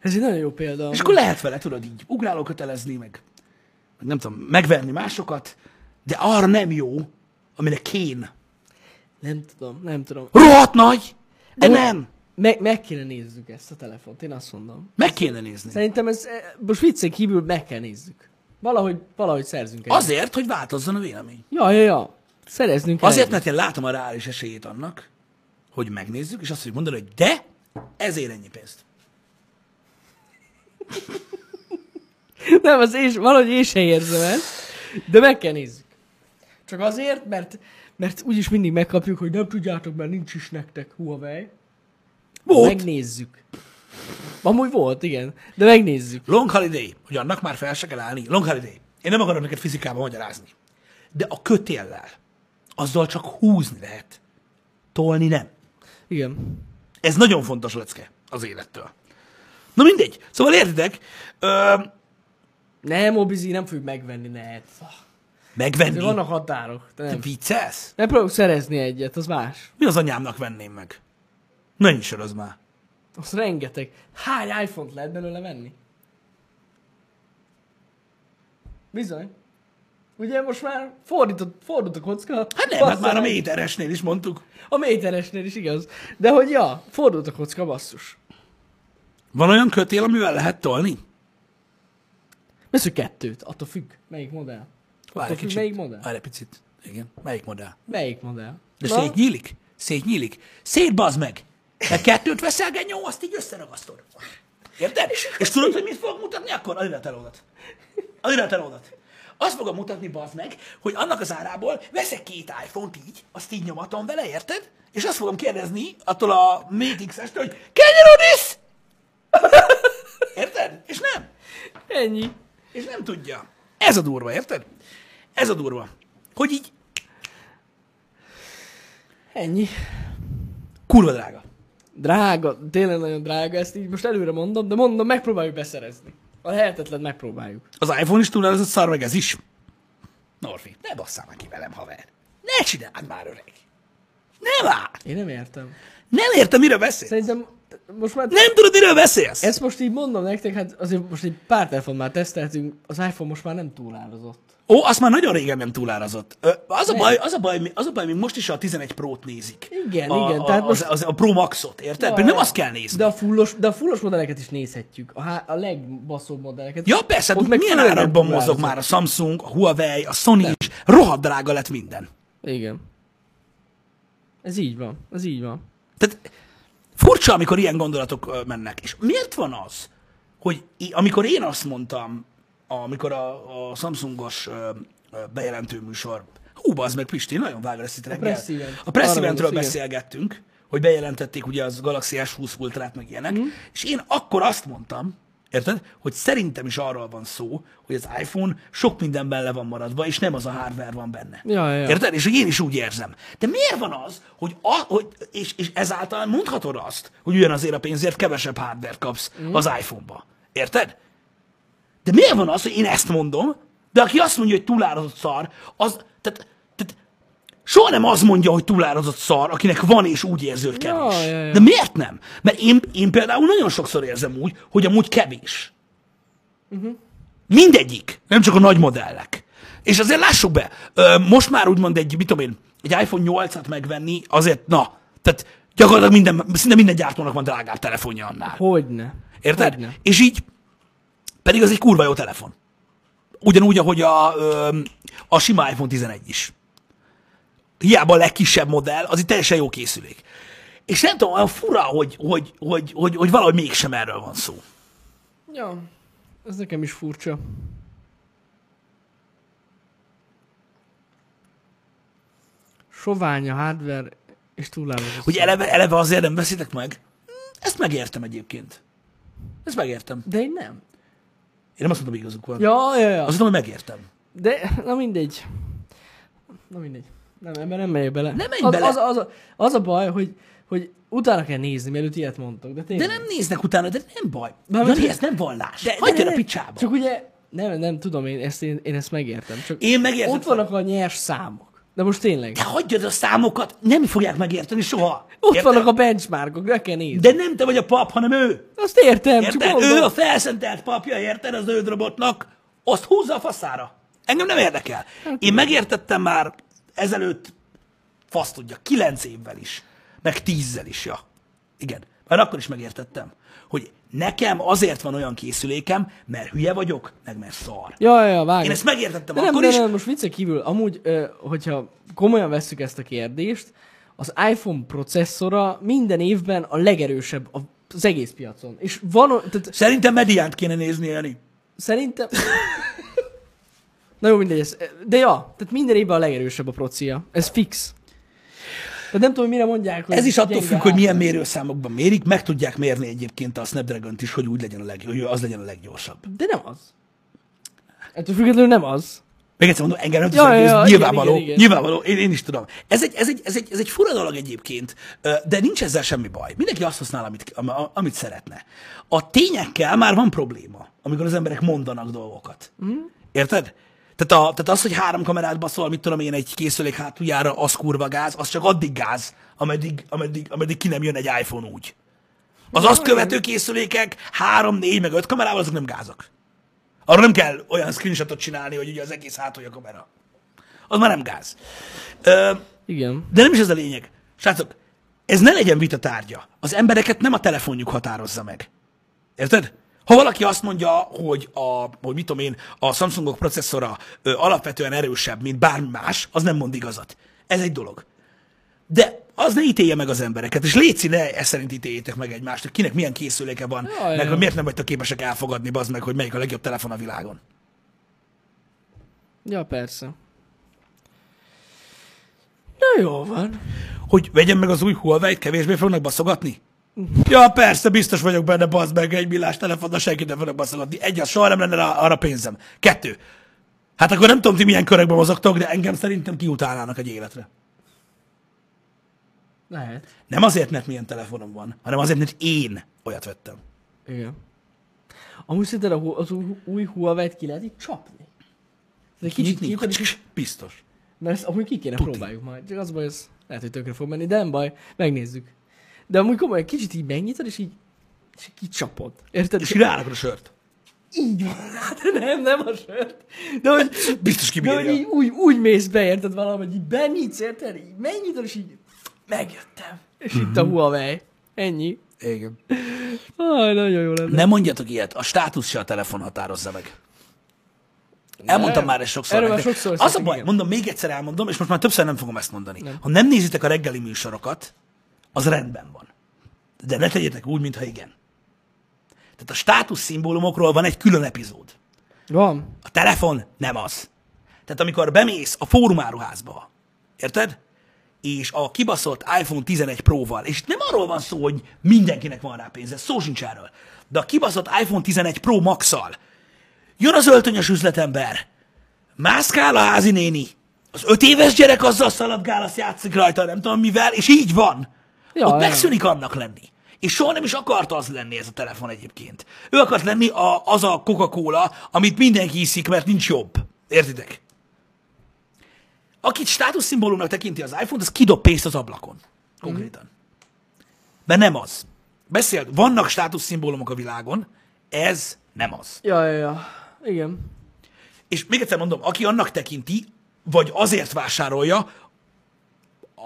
[SPEAKER 2] Ez egy nagyon jó példa.
[SPEAKER 1] És akkor lehet vele, tudod, így ugráló kötelezni, meg, meg nem tudom, megverni másokat, de arra nem jó, amire kén
[SPEAKER 2] Nem tudom, nem tudom.
[SPEAKER 1] Rohadt nagy, de
[SPEAKER 2] Amúgy-
[SPEAKER 1] nem.
[SPEAKER 2] Meg, meg kéne nézzük ezt a telefont, én azt mondom.
[SPEAKER 1] Meg kéne nézni.
[SPEAKER 2] Szerintem ez, eh, most viccen kívül meg kell nézzük. Valahogy, valahogy szerzünk egyet.
[SPEAKER 1] Azért, hogy változzon a vélemény.
[SPEAKER 2] Ja, ja, ja. Szereznünk kell
[SPEAKER 1] Azért,
[SPEAKER 2] egyet.
[SPEAKER 1] mert én látom a reális esélyét annak, hogy megnézzük, és azt fogjuk mondani, hogy de, ezért ennyi pénzt.
[SPEAKER 2] Nem, az és, valahogy én sem érzem ezt, de meg kell nézzük. Csak azért, mert, mert úgyis mindig megkapjuk, hogy nem tudjátok, mert nincs is nektek Huawei.
[SPEAKER 1] Volt.
[SPEAKER 2] Megnézzük. Amúgy volt, igen. De megnézzük.
[SPEAKER 1] Long Holiday, hogy annak már fel se kell állni. Long Holiday. Én nem akarom neked fizikában magyarázni. De a kötéllel, azzal csak húzni lehet. Tolni nem.
[SPEAKER 2] Igen.
[SPEAKER 1] Ez nagyon fontos lecke az élettől. Na mindegy. Szóval értitek, ö,
[SPEAKER 2] Nem, Mobizi, nem fogjuk megvenni, ne. Fa.
[SPEAKER 1] megvenni.
[SPEAKER 2] De vannak határok. De
[SPEAKER 1] Te
[SPEAKER 2] nem.
[SPEAKER 1] viccelsz?
[SPEAKER 2] Ne próbáljuk szerezni egyet, az más.
[SPEAKER 1] Mi az anyámnak venném meg? Ne is az már.
[SPEAKER 2] Az rengeteg. Hány iPhone-t lehet belőle venni? Bizony. Ugye most már fordított, fordult a kocka.
[SPEAKER 1] Hát nem, hát
[SPEAKER 2] Bassza
[SPEAKER 1] már a
[SPEAKER 2] meg.
[SPEAKER 1] méteresnél is mondtuk.
[SPEAKER 2] A méteresnél is igaz. De hogy ja, fordult a kocka, basszus.
[SPEAKER 1] Van olyan kötél, amivel lehet tolni?
[SPEAKER 2] Vesz, hogy kettőt, attól függ, melyik modell.
[SPEAKER 1] Várj egy
[SPEAKER 2] függ,
[SPEAKER 1] kicsit.
[SPEAKER 2] melyik modell?
[SPEAKER 1] Várj egy picit. Igen. Melyik modell?
[SPEAKER 2] Melyik modell?
[SPEAKER 1] De
[SPEAKER 2] Na,
[SPEAKER 1] szétnyílik? Szétnyílik? Szétbazd meg! Te kettőt veszel, genyó, azt így összeragasztod. Érted? És tudod, hogy mit fogok mutatni akkor? Adj rá a telódat. Adj rá a telódat. Azt fogom mutatni, bazd meg, hogy annak az árából veszek két iPhone-t így, azt így nyomatom vele, érted? És azt fogom kérdezni attól a Mate X-estől, hogy kenyerodsz? Érted? És nem.
[SPEAKER 2] Ennyi.
[SPEAKER 1] És nem tudja. Ez a durva, érted? Ez a durva. Hogy így
[SPEAKER 2] Ennyi.
[SPEAKER 1] kurva drága.
[SPEAKER 2] Drága, tényleg nagyon drága, ezt így most előre mondom, de mondom, megpróbáljuk beszerezni. A lehetetlen megpróbáljuk.
[SPEAKER 1] Az iPhone is túlározott szar, meg ez is. Norfi, ne basszál már ki velem, haver. Ne csináld már, öreg. Ne már!
[SPEAKER 2] Én nem értem.
[SPEAKER 1] Nem értem, miről beszélsz.
[SPEAKER 2] Szerintem most már...
[SPEAKER 1] Nem tudod, miről beszélsz.
[SPEAKER 2] Ezt most így mondom nektek, hát azért most egy pár telefon már teszteltünk, az iPhone most már nem túlározott.
[SPEAKER 1] Ó, azt már nagyon régen nem túlárazott. Ö, Az a,
[SPEAKER 2] Nem.
[SPEAKER 1] baj, az, a baj, az a baj, még most is a 11 Pro-t nézik.
[SPEAKER 2] Igen,
[SPEAKER 1] a,
[SPEAKER 2] igen,
[SPEAKER 1] A,
[SPEAKER 2] tehát
[SPEAKER 1] tehát
[SPEAKER 2] most-
[SPEAKER 1] most... az, az, a Pro Max-ot, érted? Pedig nem azt kell nézni.
[SPEAKER 2] De a fullos, de a fullos modelleket is nézhetjük. A, há- a legbaszóbb modelleket.
[SPEAKER 1] Ja, persze, ott meg milyen
[SPEAKER 2] főleg nem
[SPEAKER 1] árakban mozog
[SPEAKER 2] túlározott.
[SPEAKER 1] már a Samsung, a Huawei, a Sony is. Rohadt drága lett minden.
[SPEAKER 2] Igen. Ez így van, ez így van.
[SPEAKER 1] Tehát furcsa, amikor ilyen gondolatok ö, mennek. És miért van az, hogy í- amikor én azt mondtam, amikor a, a Samsungos ö, ö, bejelentő műsor, hú, az meg Pisti, nagyon vágod ezt itt reggel.
[SPEAKER 2] press event.
[SPEAKER 1] A press
[SPEAKER 2] Arra
[SPEAKER 1] eventről
[SPEAKER 2] gondolsz,
[SPEAKER 1] beszélgettünk, hogy bejelentették ugye az Galaxy S20 Ultrát, meg ilyenek,
[SPEAKER 2] Mhm.
[SPEAKER 1] mm. és én akkor azt mondtam, érted, hogy szerintem is arról van szó, hogy az iPhone sok mindenben le van maradva, és nem az a hardware van benne.
[SPEAKER 2] Ja, ja, ja.
[SPEAKER 1] Érted? És hogy én is úgy érzem. De miért van az, hogy, a, hogy és, és ezáltal mondhatod azt, hogy ugyanazért a pénzért kevesebb hardware kapsz mm.
[SPEAKER 2] Mhm.
[SPEAKER 1] az iPhone-ba. Érted? De miért van az, hogy én ezt mondom, de aki azt mondja, hogy túlározott szar, az, tehát, tehát soha nem az mondja, hogy túlározott szar, akinek van és úgy érzi, hogy kevés.
[SPEAKER 2] Ja, ja, ja.
[SPEAKER 1] De miért nem? Mert én, én például nagyon sokszor érzem úgy, hogy amúgy kevés. Mindegyik, nem csak a nagy modellek. És azért lássuk be, ö, most már úgymond egy, mit tudom én, egy iPhone 8-at megvenni, azért, na, tehát gyakorlatilag minden, szinte minden gyártónak van drágább telefonja annál.
[SPEAKER 2] Hogyne.
[SPEAKER 1] Érted?
[SPEAKER 2] Hogyne.
[SPEAKER 1] És így, pedig az egy kurva jó telefon. Ugyanúgy, ahogy a, ö, a sima iPhone 11 is. Hiába a legkisebb modell, az egy teljesen jó készülék. És nem tudom, olyan fura, hogy, hogy, hogy, hogy, hogy valahogy mégsem erről van szó.
[SPEAKER 2] Ja, ez nekem is furcsa. Sovány a hardware, és túlározott.
[SPEAKER 1] Hogy eleve, eleve azért nem veszitek meg? Hm, Ezt megértem egyébként. Ezt megértem.
[SPEAKER 2] De én nem.
[SPEAKER 1] Én nem azt mondom, hogy igazuk van. Ja.
[SPEAKER 2] Ja, ja, ja.
[SPEAKER 1] Azt mondom, hogy megértem.
[SPEAKER 2] De, na mindegy. Na mindegy. Nem, ebben nem megyek bele.
[SPEAKER 1] Ne menj
[SPEAKER 2] az,
[SPEAKER 1] bele!
[SPEAKER 2] Az, az, a, az a baj, hogy, hogy utána kell nézni, mielőtt ilyet mondtok. De,
[SPEAKER 1] De
[SPEAKER 2] tényleg.
[SPEAKER 1] nem néznek utána, de nem baj.
[SPEAKER 2] Na,
[SPEAKER 1] Jani,
[SPEAKER 2] de-
[SPEAKER 1] ez nem vallás.
[SPEAKER 2] De-
[SPEAKER 1] Hagyd
[SPEAKER 2] de-
[SPEAKER 1] el a
[SPEAKER 2] de-
[SPEAKER 1] picsába.
[SPEAKER 2] Csak ugye, nem, nem tudom, én ezt, én, én ezt megértem. Csak
[SPEAKER 1] Én megértem.
[SPEAKER 2] Ott vannak a nyers számok. De most tényleg.
[SPEAKER 1] Te hagyjad a számokat, nem fogják megérteni soha.
[SPEAKER 2] Ott
[SPEAKER 1] Érted?
[SPEAKER 2] vannak a benchmarkok, le kell nézni.
[SPEAKER 1] De nem te vagy a pap, hanem ő.
[SPEAKER 2] Azt értem, csak
[SPEAKER 1] Érted?
[SPEAKER 2] mondom.
[SPEAKER 1] Ő a felszentelt papja, érted? Az ődrobotnak. Azt húzza a faszára. Engem nem érdekel. Én megértettem már ezelőtt, fasz tudja, kilenc évvel is. Meg tízzel is, ja. Igen. Már akkor is megértettem, hogy nekem azért van olyan készülékem, mert hülye vagyok, meg mert szar.
[SPEAKER 2] Ja, ja, ja, vágom.
[SPEAKER 1] Én ezt megértettem
[SPEAKER 2] de nem,
[SPEAKER 1] akkor
[SPEAKER 2] de
[SPEAKER 1] is.
[SPEAKER 2] nem, most vicce kívül, amúgy, ö, hogyha komolyan vesszük ezt a kérdést, az iPhone processzora minden évben a legerősebb a- az egész piacon. És van, o- tehát
[SPEAKER 1] Szerintem mediánt kéne nézni, Jani.
[SPEAKER 2] Szerintem... Na jó, mindegy, ez. de ja, tehát minden évben a legerősebb a procia. Ez fix. Tehát nem tudom, mire mondják, hogy
[SPEAKER 1] Ez is attól
[SPEAKER 2] gyenge
[SPEAKER 1] függ, hogy
[SPEAKER 2] háttér.
[SPEAKER 1] milyen mérőszámokban mérik, meg tudják mérni egyébként a Snapdragon-t is, hogy úgy legyen a leg, hogy az legyen a leggyorsabb.
[SPEAKER 2] De nem az. Ettől függetlenül nem az.
[SPEAKER 1] Még egyszer mondom, engem nem
[SPEAKER 2] Ja,
[SPEAKER 1] tudom,
[SPEAKER 2] ja,
[SPEAKER 1] ja,
[SPEAKER 2] ja,
[SPEAKER 1] ez
[SPEAKER 2] igen,
[SPEAKER 1] nyilvánvaló,
[SPEAKER 2] igen, igen.
[SPEAKER 1] nyilvánvaló, én, én is tudom. Ez egy, ez, egy, ez, egy, ez egy fura dolog egyébként, ö, de nincs ezzel semmi baj. Mindenki azt használ, amit, am- am- amit szeretne. A tényekkel már van probléma, amikor az emberek mondanak dolgokat. Mm. Érted? Tehát, a, tehát az, hogy három kamerát baszol, mit tudom én, egy készülék hátuljára, az kurva gáz, az csak addig gáz, ameddig, ameddig, ameddig ki nem jön egy iPhone úgy. Az azt követő készülékek három, négy, meg öt kamerával, azok nem gázak. Arra nem kell olyan screenshotot csinálni, hogy ugye az egész hátulja kamera. Az már nem gáz. Ö,
[SPEAKER 2] Igen.
[SPEAKER 1] de nem is ez a lényeg. Srácok, ez ne legyen vita tárgya. Az embereket nem a telefonjuk határozza meg. Érted? Ha valaki azt mondja, hogy a, hogy mit tudom én, a Samsungok processzora ö, alapvetően erősebb, mint bármi más, az nem mond igazat. Ez egy dolog. De az ne ítélje meg az embereket, és léci ne ezt szerint ítéljétek meg egymást, hogy kinek milyen készüléke van,
[SPEAKER 2] Jaj,
[SPEAKER 1] Jaj, meg
[SPEAKER 2] jaj.
[SPEAKER 1] hogy miért nem vagytok képesek elfogadni, bazd meg, hogy melyik a legjobb telefon a világon.
[SPEAKER 2] Ja, persze. Na jó van.
[SPEAKER 1] hogy vegyem meg az új Huawei-t, kevésbé fognak baszogatni? Ja, persze, biztos vagyok benne, bazd meg, egy millás telefonnal senkit nem fognak baszogatni. Egy, az soha nem lenne rá, arra pénzem. Kettő. Hát akkor nem tudom, ti milyen körökben mozogtok, de engem szerintem kiutálnának egy életre.
[SPEAKER 2] Lehet.
[SPEAKER 1] Nem azért, mert milyen telefonom van, hanem azért, mert én olyat vettem.
[SPEAKER 2] Igen. Amúgy szerinted a hu- az új- új Huawei-t ki lehet így csapni? Ez egy kicsit
[SPEAKER 1] Nyitni?
[SPEAKER 2] kiütni,
[SPEAKER 1] Biztos.
[SPEAKER 2] Mert ezt amúgy ki kéne próbáljuk majd. Csak az baj, ez lehet, hogy tökre fog menni, de nem baj, megnézzük. De amúgy komolyan kicsit így megnyitod, és így, és így kicsapod. Érted?
[SPEAKER 1] És rárakod a sört.
[SPEAKER 2] így van. Hát nem, nem a sört. De hogy,
[SPEAKER 1] Biztos
[SPEAKER 2] de hogy így
[SPEAKER 1] kibírja.
[SPEAKER 2] úgy, úgy mész be, érted valahogy, így benyitsz, érted? Így megnyitod, és így megjöttem. És itt a
[SPEAKER 1] Mhm.
[SPEAKER 2] Huawei. Ennyi.
[SPEAKER 1] Igen.
[SPEAKER 2] Aj, nagyon jó lenne.
[SPEAKER 1] Nem mondjatok ilyet, a státusz se a telefon határozza meg. Elmondtam már ezt sokszor.
[SPEAKER 2] Erről már
[SPEAKER 1] nektek.
[SPEAKER 2] sokszor
[SPEAKER 1] az a
[SPEAKER 2] szóltak,
[SPEAKER 1] baj,
[SPEAKER 2] igen.
[SPEAKER 1] mondom, még egyszer elmondom, és most már többször nem fogom ezt mondani. Nem. Ha nem nézitek a reggeli műsorokat, az rendben van. De ne tegyetek úgy, mintha igen. Tehát a státusz szimbólumokról van egy külön epizód.
[SPEAKER 2] Van.
[SPEAKER 1] A telefon nem az. Tehát amikor bemész a fórumáruházba, érted? És a kibaszott iPhone 11 Pro-val, és nem arról van szó, hogy mindenkinek van rá pénze, szó sincs erről, de a kibaszott iPhone 11 Pro Max-szal jön az öltönyös üzletember, mászkál a házi néni, az öt éves gyerek azzal szaladgál, azt játszik rajta, nem tudom mivel, és így van.
[SPEAKER 2] Ja,
[SPEAKER 1] Ja, Ott
[SPEAKER 2] ja.
[SPEAKER 1] megszűnik annak lenni. És soha nem is akart az lenni ez a telefon egyébként. Ő akart lenni a, az a Coca-Cola, amit mindenki iszik, mert nincs jobb. Értitek? Akit státuszszimbólumnak tekinti az iPhone-t, az kidob pénzt az ablakon. Konkrétan. De nem az. Beszélt, vannak státuszszimbólumok a világon, ez nem az.
[SPEAKER 2] Ja, ja, ja. Igen.
[SPEAKER 1] És még egyszer mondom, aki annak tekinti, vagy azért vásárolja,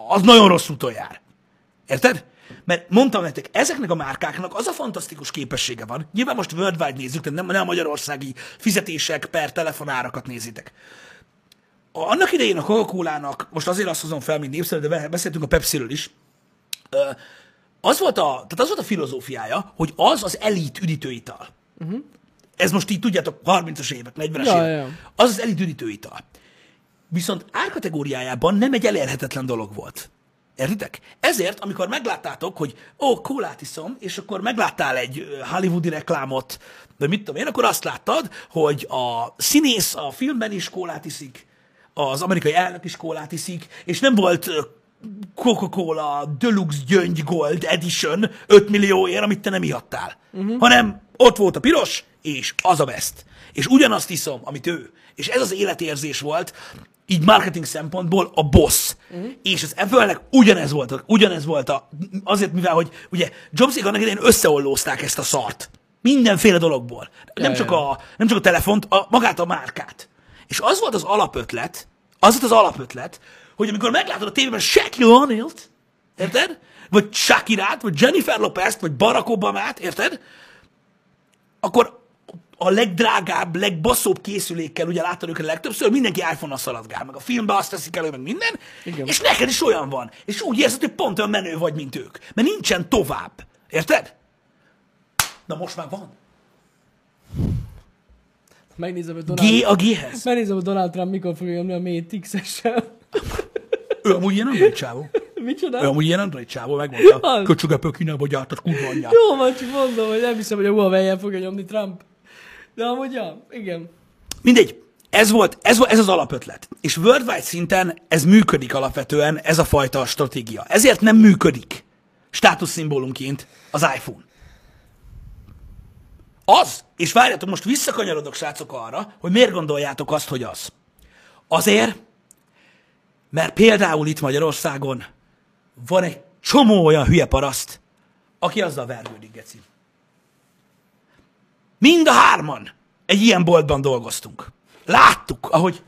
[SPEAKER 1] az nagyon rossz úton jár. Érted? Mert mondtam nektek, ezeknek a márkáknak az a fantasztikus képessége van, nyilván most worldwide nézzük, tehát nem, nem a magyarországi fizetések per telefonárakat nézitek. A- Annak idején a coca most azért azt hozom fel, mint népszerű, de beszéltünk a Pepsi-ről is, ö, az volt a, tehát az volt a filozófiája, hogy az az elit üdítőital. Uh-huh. Ez most így tudjátok, 30-as évek, 40-es
[SPEAKER 2] Mhm. Ja,
[SPEAKER 1] évek.
[SPEAKER 2] ja.
[SPEAKER 1] Az az elit üdítőital. Viszont árkategóriájában nem egy elérhetetlen dolog volt. Értitek? Ezért, amikor megláttátok, hogy ó, kólát iszom, és akkor megláttál egy ö, hollywoodi reklámot, vagy mit tudom én, akkor azt láttad, hogy a színész a filmben is kólát iszik, az amerikai elnök is kólát iszik, és nem volt ö, Coca-Cola Deluxe Gyöngy Gold Edition 5 millióért, amit te nem ihattál. Uh-huh. Hanem ott volt a piros, és az a best. És ugyanazt iszom, amit ő. És ez az életérzés volt, így marketing szempontból a boss.
[SPEAKER 2] Mhm.
[SPEAKER 1] Uh-huh. És az Apple-nek ugyanez volt, a- ugyanez volt a, azért, mivel, hogy ugye Jobsék annak idején összeollózták ezt a szart. Mindenféle dologból. Nem
[SPEAKER 2] ja,
[SPEAKER 1] csak,
[SPEAKER 2] ja.
[SPEAKER 1] a, nem csak a telefont, a, magát a márkát. És az volt az alapötlet, az volt az alapötlet, hogy amikor meglátod a tévében Shaquille O'Neal-t, érted? vagy Shakirát, vagy Jennifer Lopez-t, vagy Barack Obamát, érted? Akkor a legdrágább, legbaszóbb készülékkel, ugye láttad őket legtöbbször, mindenki iPhone-nal szaladgál, meg a filmbe azt teszik elő, meg minden,
[SPEAKER 2] Igen.
[SPEAKER 1] és neked is olyan van, és úgy érzed, hogy pont olyan menő vagy, mint ők, mert nincsen tovább, érted? Na most már van.
[SPEAKER 2] Megnézem, hogy Donald...
[SPEAKER 1] G a G-hez.
[SPEAKER 2] Megnézem, hogy Donald Trump mikor fogja jönni a Mate X-essel.
[SPEAKER 1] Ő amúgy ilyen android csávó. Ő
[SPEAKER 2] Micsoda?
[SPEAKER 1] amúgy ilyen android csávó, megmondta.
[SPEAKER 2] Az.
[SPEAKER 1] Köcsög a Kínába gyártott kurva anyját.
[SPEAKER 2] Jó van, csak mondom, hogy nem hiszem, hogy a Huawei-jel fogja nyomni Trump. De amúgy, ja, igen.
[SPEAKER 1] Mindegy, ez volt, ez, volt, ez az alapötlet. És worldwide szinten ez működik alapvetően, ez a fajta stratégia. Ezért nem működik státuszszimbólumként az iPhone. Az, és várjatok, most visszakanyarodok, srácok, arra, hogy miért gondoljátok azt, hogy az. Azért, mert például itt Magyarországon van egy csomó olyan hülye paraszt, aki azzal vergődik, geci. Mind a hárman egy ilyen boltban dolgoztunk. Láttuk, ahogy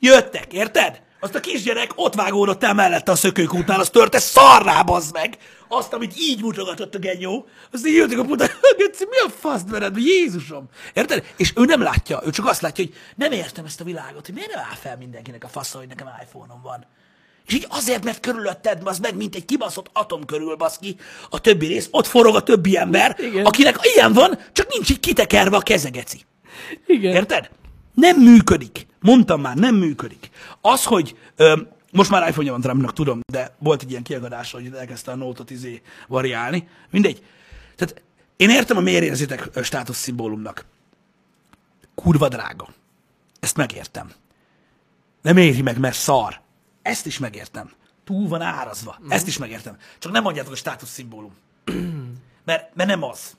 [SPEAKER 1] jöttek, érted? Azt a kisgyerek ott vágódott el mellette a szökőkútnál, azt törte szarrá, bazd meg! Azt, amit így mutogatott a genyó, azt így jöttek a puta, Geci, mi a faszt vered, Jézusom! Érted? És ő nem látja, ő csak azt látja, hogy nem értem ezt a világot, hogy miért nem áll fel mindenkinek a fasza, hogy nekem iPhone-om van. És így azért, mert körülötted, az meg, mint egy kibaszott atom körül, basz ki, a többi rész, ott forog a többi ember,
[SPEAKER 2] Igen.
[SPEAKER 1] akinek ilyen van, csak nincs így kitekerve a kezegeci.
[SPEAKER 2] Igen.
[SPEAKER 1] Érted? Nem működik. Mondtam már, nem működik. Az, hogy ö, most már iPhone-ja van Trumpnak, tudom, de volt egy ilyen kiagadása, hogy elkezdte a Note-ot izé variálni. Mindegy. Tehát én értem, hogy miért érzitek ö, státuszszimbólumnak. Kurva drága. Ezt megértem. Nem éri meg, mert szar. Ezt is megértem. Túl van árazva. Ezt is megértem. Csak nem mondjátok a státuszszimbólum. mert, mert nem az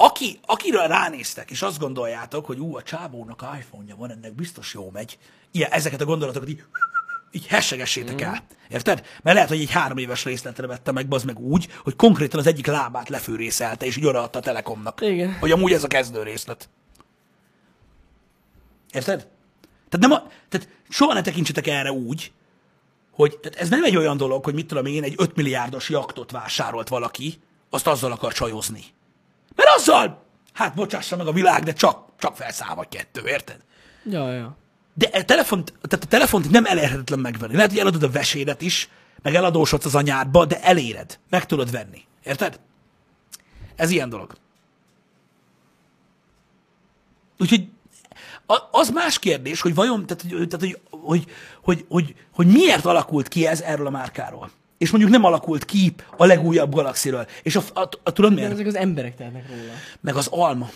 [SPEAKER 1] aki, akiről ránéztek, és azt gondoljátok, hogy ú, a csávónak iPhone-ja van, ennek biztos jó megy, ilyen, ezeket a gondolatokat így, így hessegessétek el. Érted? Mert lehet, hogy egy három éves részletre vette meg, bazd meg úgy, hogy konkrétan az egyik lábát lefűrészelte, és így odaadta a Telekomnak.
[SPEAKER 2] Igen.
[SPEAKER 1] Hogy amúgy ez a kezdő részlet. Érted? Tehát, nem a, tehát soha ne tekintsetek erre úgy, hogy tehát ez nem egy olyan dolog, hogy mit tudom én, egy 5 milliárdos jaktot vásárolt valaki, azt azzal akar csajozni. Mert azzal, hát bocsássa meg a világ, de csak, csak felszáll vagy kettő, érted?
[SPEAKER 2] Ja, ja.
[SPEAKER 1] De a telefont, tehát a telefont nem elérhetetlen megvenni. Lehet, hogy eladod a vesédet is, meg eladósodsz az anyádba, de eléred. Meg tudod venni. Érted? Ez ilyen dolog. Úgyhogy a- az más kérdés, hogy vajon, tehát, hogy, tehát, hogy, hogy, hogy, hogy, hogy miért alakult ki ez erről a márkáról. És mondjuk nem alakult ki a legújabb galaxiről. És a, a, a, tudod
[SPEAKER 2] De
[SPEAKER 1] miért?
[SPEAKER 2] ezek az emberek tehetnek róla.
[SPEAKER 1] Meg az alma.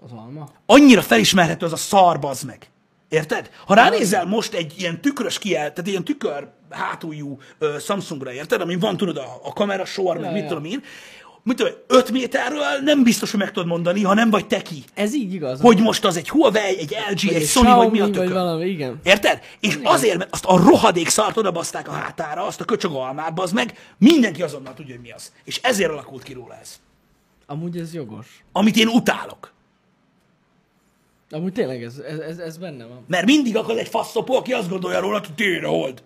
[SPEAKER 2] Az alma?
[SPEAKER 1] annyira felismerhető az a szar, bazd meg. Érted? Ha ránézel most egy ilyen tükrös kiel, tehát ilyen tükör hátuljú ö, Samsungra, érted? Amin van, tudod, a, a kamera sor, meg
[SPEAKER 2] Ja,
[SPEAKER 1] mit
[SPEAKER 2] ja.
[SPEAKER 1] tudom én, mit tudom, 5 méterről nem biztos, hogy meg tudod mondani, ha nem vagy teki.
[SPEAKER 2] Ez így igaz.
[SPEAKER 1] Hogy most az egy Huawei, egy LG, egy,
[SPEAKER 2] Vagy
[SPEAKER 1] egy Sony, vagy mi a
[SPEAKER 2] Xiaomi,
[SPEAKER 1] tükör.
[SPEAKER 2] Vagy valami, igen.
[SPEAKER 1] Érted? És azért, mert azt a rohadék szart odabaszták a hátára, azt a köcsög almát, az meg, mindenki azonnal tudja, hogy mi az. És ezért alakult ki róla ez.
[SPEAKER 2] Amúgy ez jogos.
[SPEAKER 1] Amit én utálok.
[SPEAKER 2] Amúgy tényleg ez, ez, ez, ez benne van.
[SPEAKER 1] Mert mindig akad egy faszopó, aki azt gondolja róla, hogy tényleg hold.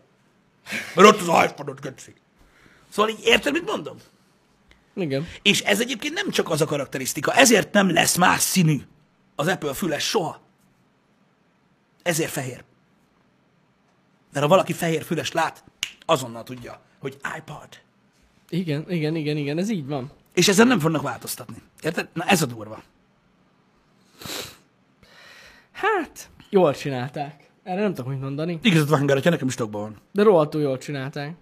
[SPEAKER 1] Mert ott az iPhone-ot kötszik. Szóval így érted, mit mondom?
[SPEAKER 2] Igen.
[SPEAKER 1] És ez egyébként nem csak az a karakterisztika, ezért nem lesz más színű az Apple füles soha. Ezért fehér. Mert ha valaki fehér füles lát, azonnal tudja, hogy iPod.
[SPEAKER 2] Igen, igen, igen, igen, ez így van.
[SPEAKER 1] És ezen nem fognak változtatni. Érted? Na ez a durva.
[SPEAKER 2] Hát, jól csinálták. Erre nem tudok mit mondani.
[SPEAKER 1] Igazad van, Garatya, nekem is tokban van.
[SPEAKER 2] De rohadtul jól csinálták.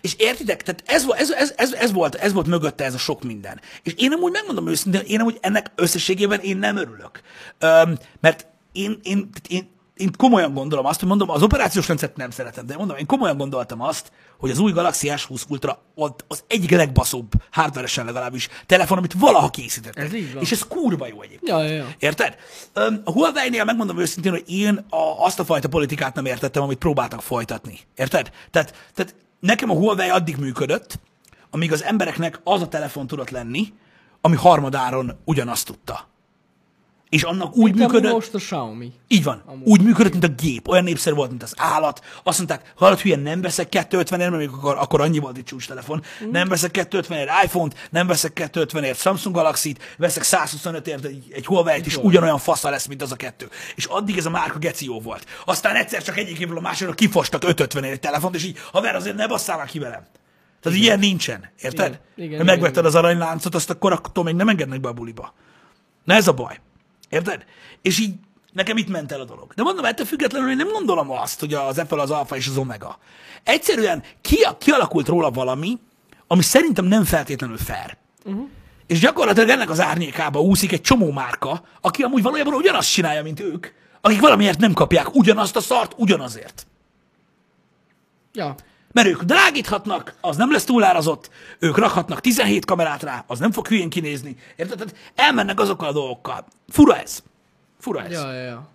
[SPEAKER 1] És értitek? Tehát ez, vo- ez, ez, ez, ez, volt, ez volt mögötte ez a sok minden. És én amúgy megmondom őszintén, én amúgy ennek összességében én nem örülök. Öm, mert én, én, tehát én, én komolyan gondolom azt, hogy mondom, az operációs rendszert nem szeretem, de mondom, én komolyan gondoltam azt, hogy az új Galaxy S20 Ultra ad- az egyik legbaszóbb, hardveresen legalábbis, telefon, amit valaha készítettek.
[SPEAKER 2] Ez így van.
[SPEAKER 1] És ez kurva jó egyébként.
[SPEAKER 2] Ja, ja, ja.
[SPEAKER 1] Érted? Öm, A Huawei-nél megmondom őszintén, hogy én a, azt a fajta politikát nem értettem, amit próbáltak folytatni. Érted? Tehát, tehát nekem a Huawei addig működött, amíg az embereknek az a telefon tudott lenni, ami harmadáron ugyanazt tudta. És annak úgy
[SPEAKER 2] Inkább
[SPEAKER 1] működött...
[SPEAKER 2] Most a Xiaomi.
[SPEAKER 1] Így van. Amúgy. Úgy működött, mint a gép. Olyan népszerű volt, mint az állat. Azt mondták, hallott hülye, nem veszek 250 ért, mert még akkor, akkor annyi volt egy csúcstelefon. Mm. Nem veszek 250 ért iPhone-t, nem veszek 250 ért Samsung Galaxy-t, veszek 125 ért egy, egy Huawei-t, és ugyanolyan fasza lesz, mint az a kettő. És addig ez a márka geció volt. Aztán egyszer csak egyik évről a másikra kifostak 550 ért egy telefont, és így, haver, azért ne basszál ki velem. Tehát igen. ilyen nincsen, érted?
[SPEAKER 2] Igen, igen,
[SPEAKER 1] ha
[SPEAKER 2] igen,
[SPEAKER 1] megvetted az aranyláncot, azt akkor attól még nem engednek be a buliba. Na ez a baj. Érted? És így nekem itt ment el a dolog. De mondom, ettől függetlenül én nem gondolom azt, hogy az Apple az alfa és az omega. Egyszerűen ki, kialakult róla valami, ami szerintem nem feltétlenül fair. Uh-huh. És gyakorlatilag ennek az árnyékába úszik egy csomó márka, aki amúgy valójában ugyanazt csinálja, mint ők, akik valamiért nem kapják ugyanazt a szart ugyanazért.
[SPEAKER 2] Ja.
[SPEAKER 1] Mert ők drágíthatnak, az nem lesz túlárazott, ők rakhatnak 17 kamerát rá, az nem fog hülyén kinézni. Érted? Tehát elmennek azokkal a dolgokkal. Fura ez. Fura ez.
[SPEAKER 2] Ja, ja, ja.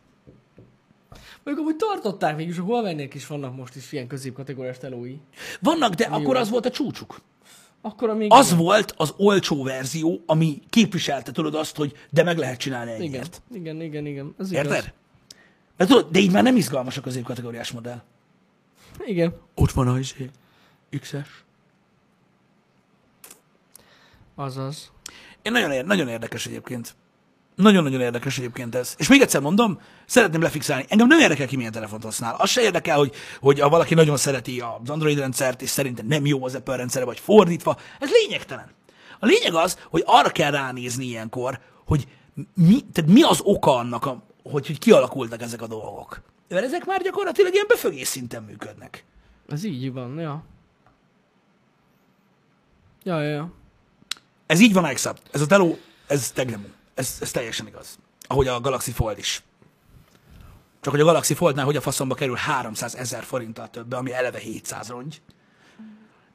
[SPEAKER 2] Mondjuk amúgy tartották végig, és a huawei is vannak most is ilyen középkategóriás telói.
[SPEAKER 1] Vannak, de akkor az volt a csúcsuk.
[SPEAKER 2] Akkor amíg...
[SPEAKER 1] Az volt az olcsó verzió, ami képviselte tudod azt, hogy de meg lehet csinálni ennyiért.
[SPEAKER 2] igen. igen, igen, igen, ez igaz.
[SPEAKER 1] Érted? De, tudod, de így már nem izgalmas a középkategóriás modell.
[SPEAKER 2] Igen.
[SPEAKER 1] Ott van a izé, X-es.
[SPEAKER 2] Azaz.
[SPEAKER 1] Én nagyon, ér- nagyon érdekes egyébként. Nagyon-nagyon érdekes egyébként ez. És még egyszer mondom, szeretném lefixálni. Engem nem érdekel, ki milyen telefont használ. Az se érdekel, hogy, hogy a valaki nagyon szereti az Android rendszert, és szerinte nem jó az Apple rendszere, vagy fordítva. Ez lényegtelen. A lényeg az, hogy arra kell ránézni ilyenkor, hogy mi, tehát mi az oka annak, a, hogy, hogy kialakultak ezek a dolgok. Mert ezek már gyakorlatilag ilyen befögés szinten működnek.
[SPEAKER 2] Ez így van, ja. Ja, ja, ja.
[SPEAKER 1] Ez így van, Excel. Ez a teló, ez tegnemú. Ez, ez teljesen igaz. Ahogy a Galaxy Fold is. Csak hogy a Galaxy Foldnál hogy a faszomba kerül 300 ezer forinttal többe, ami eleve 700 rongy.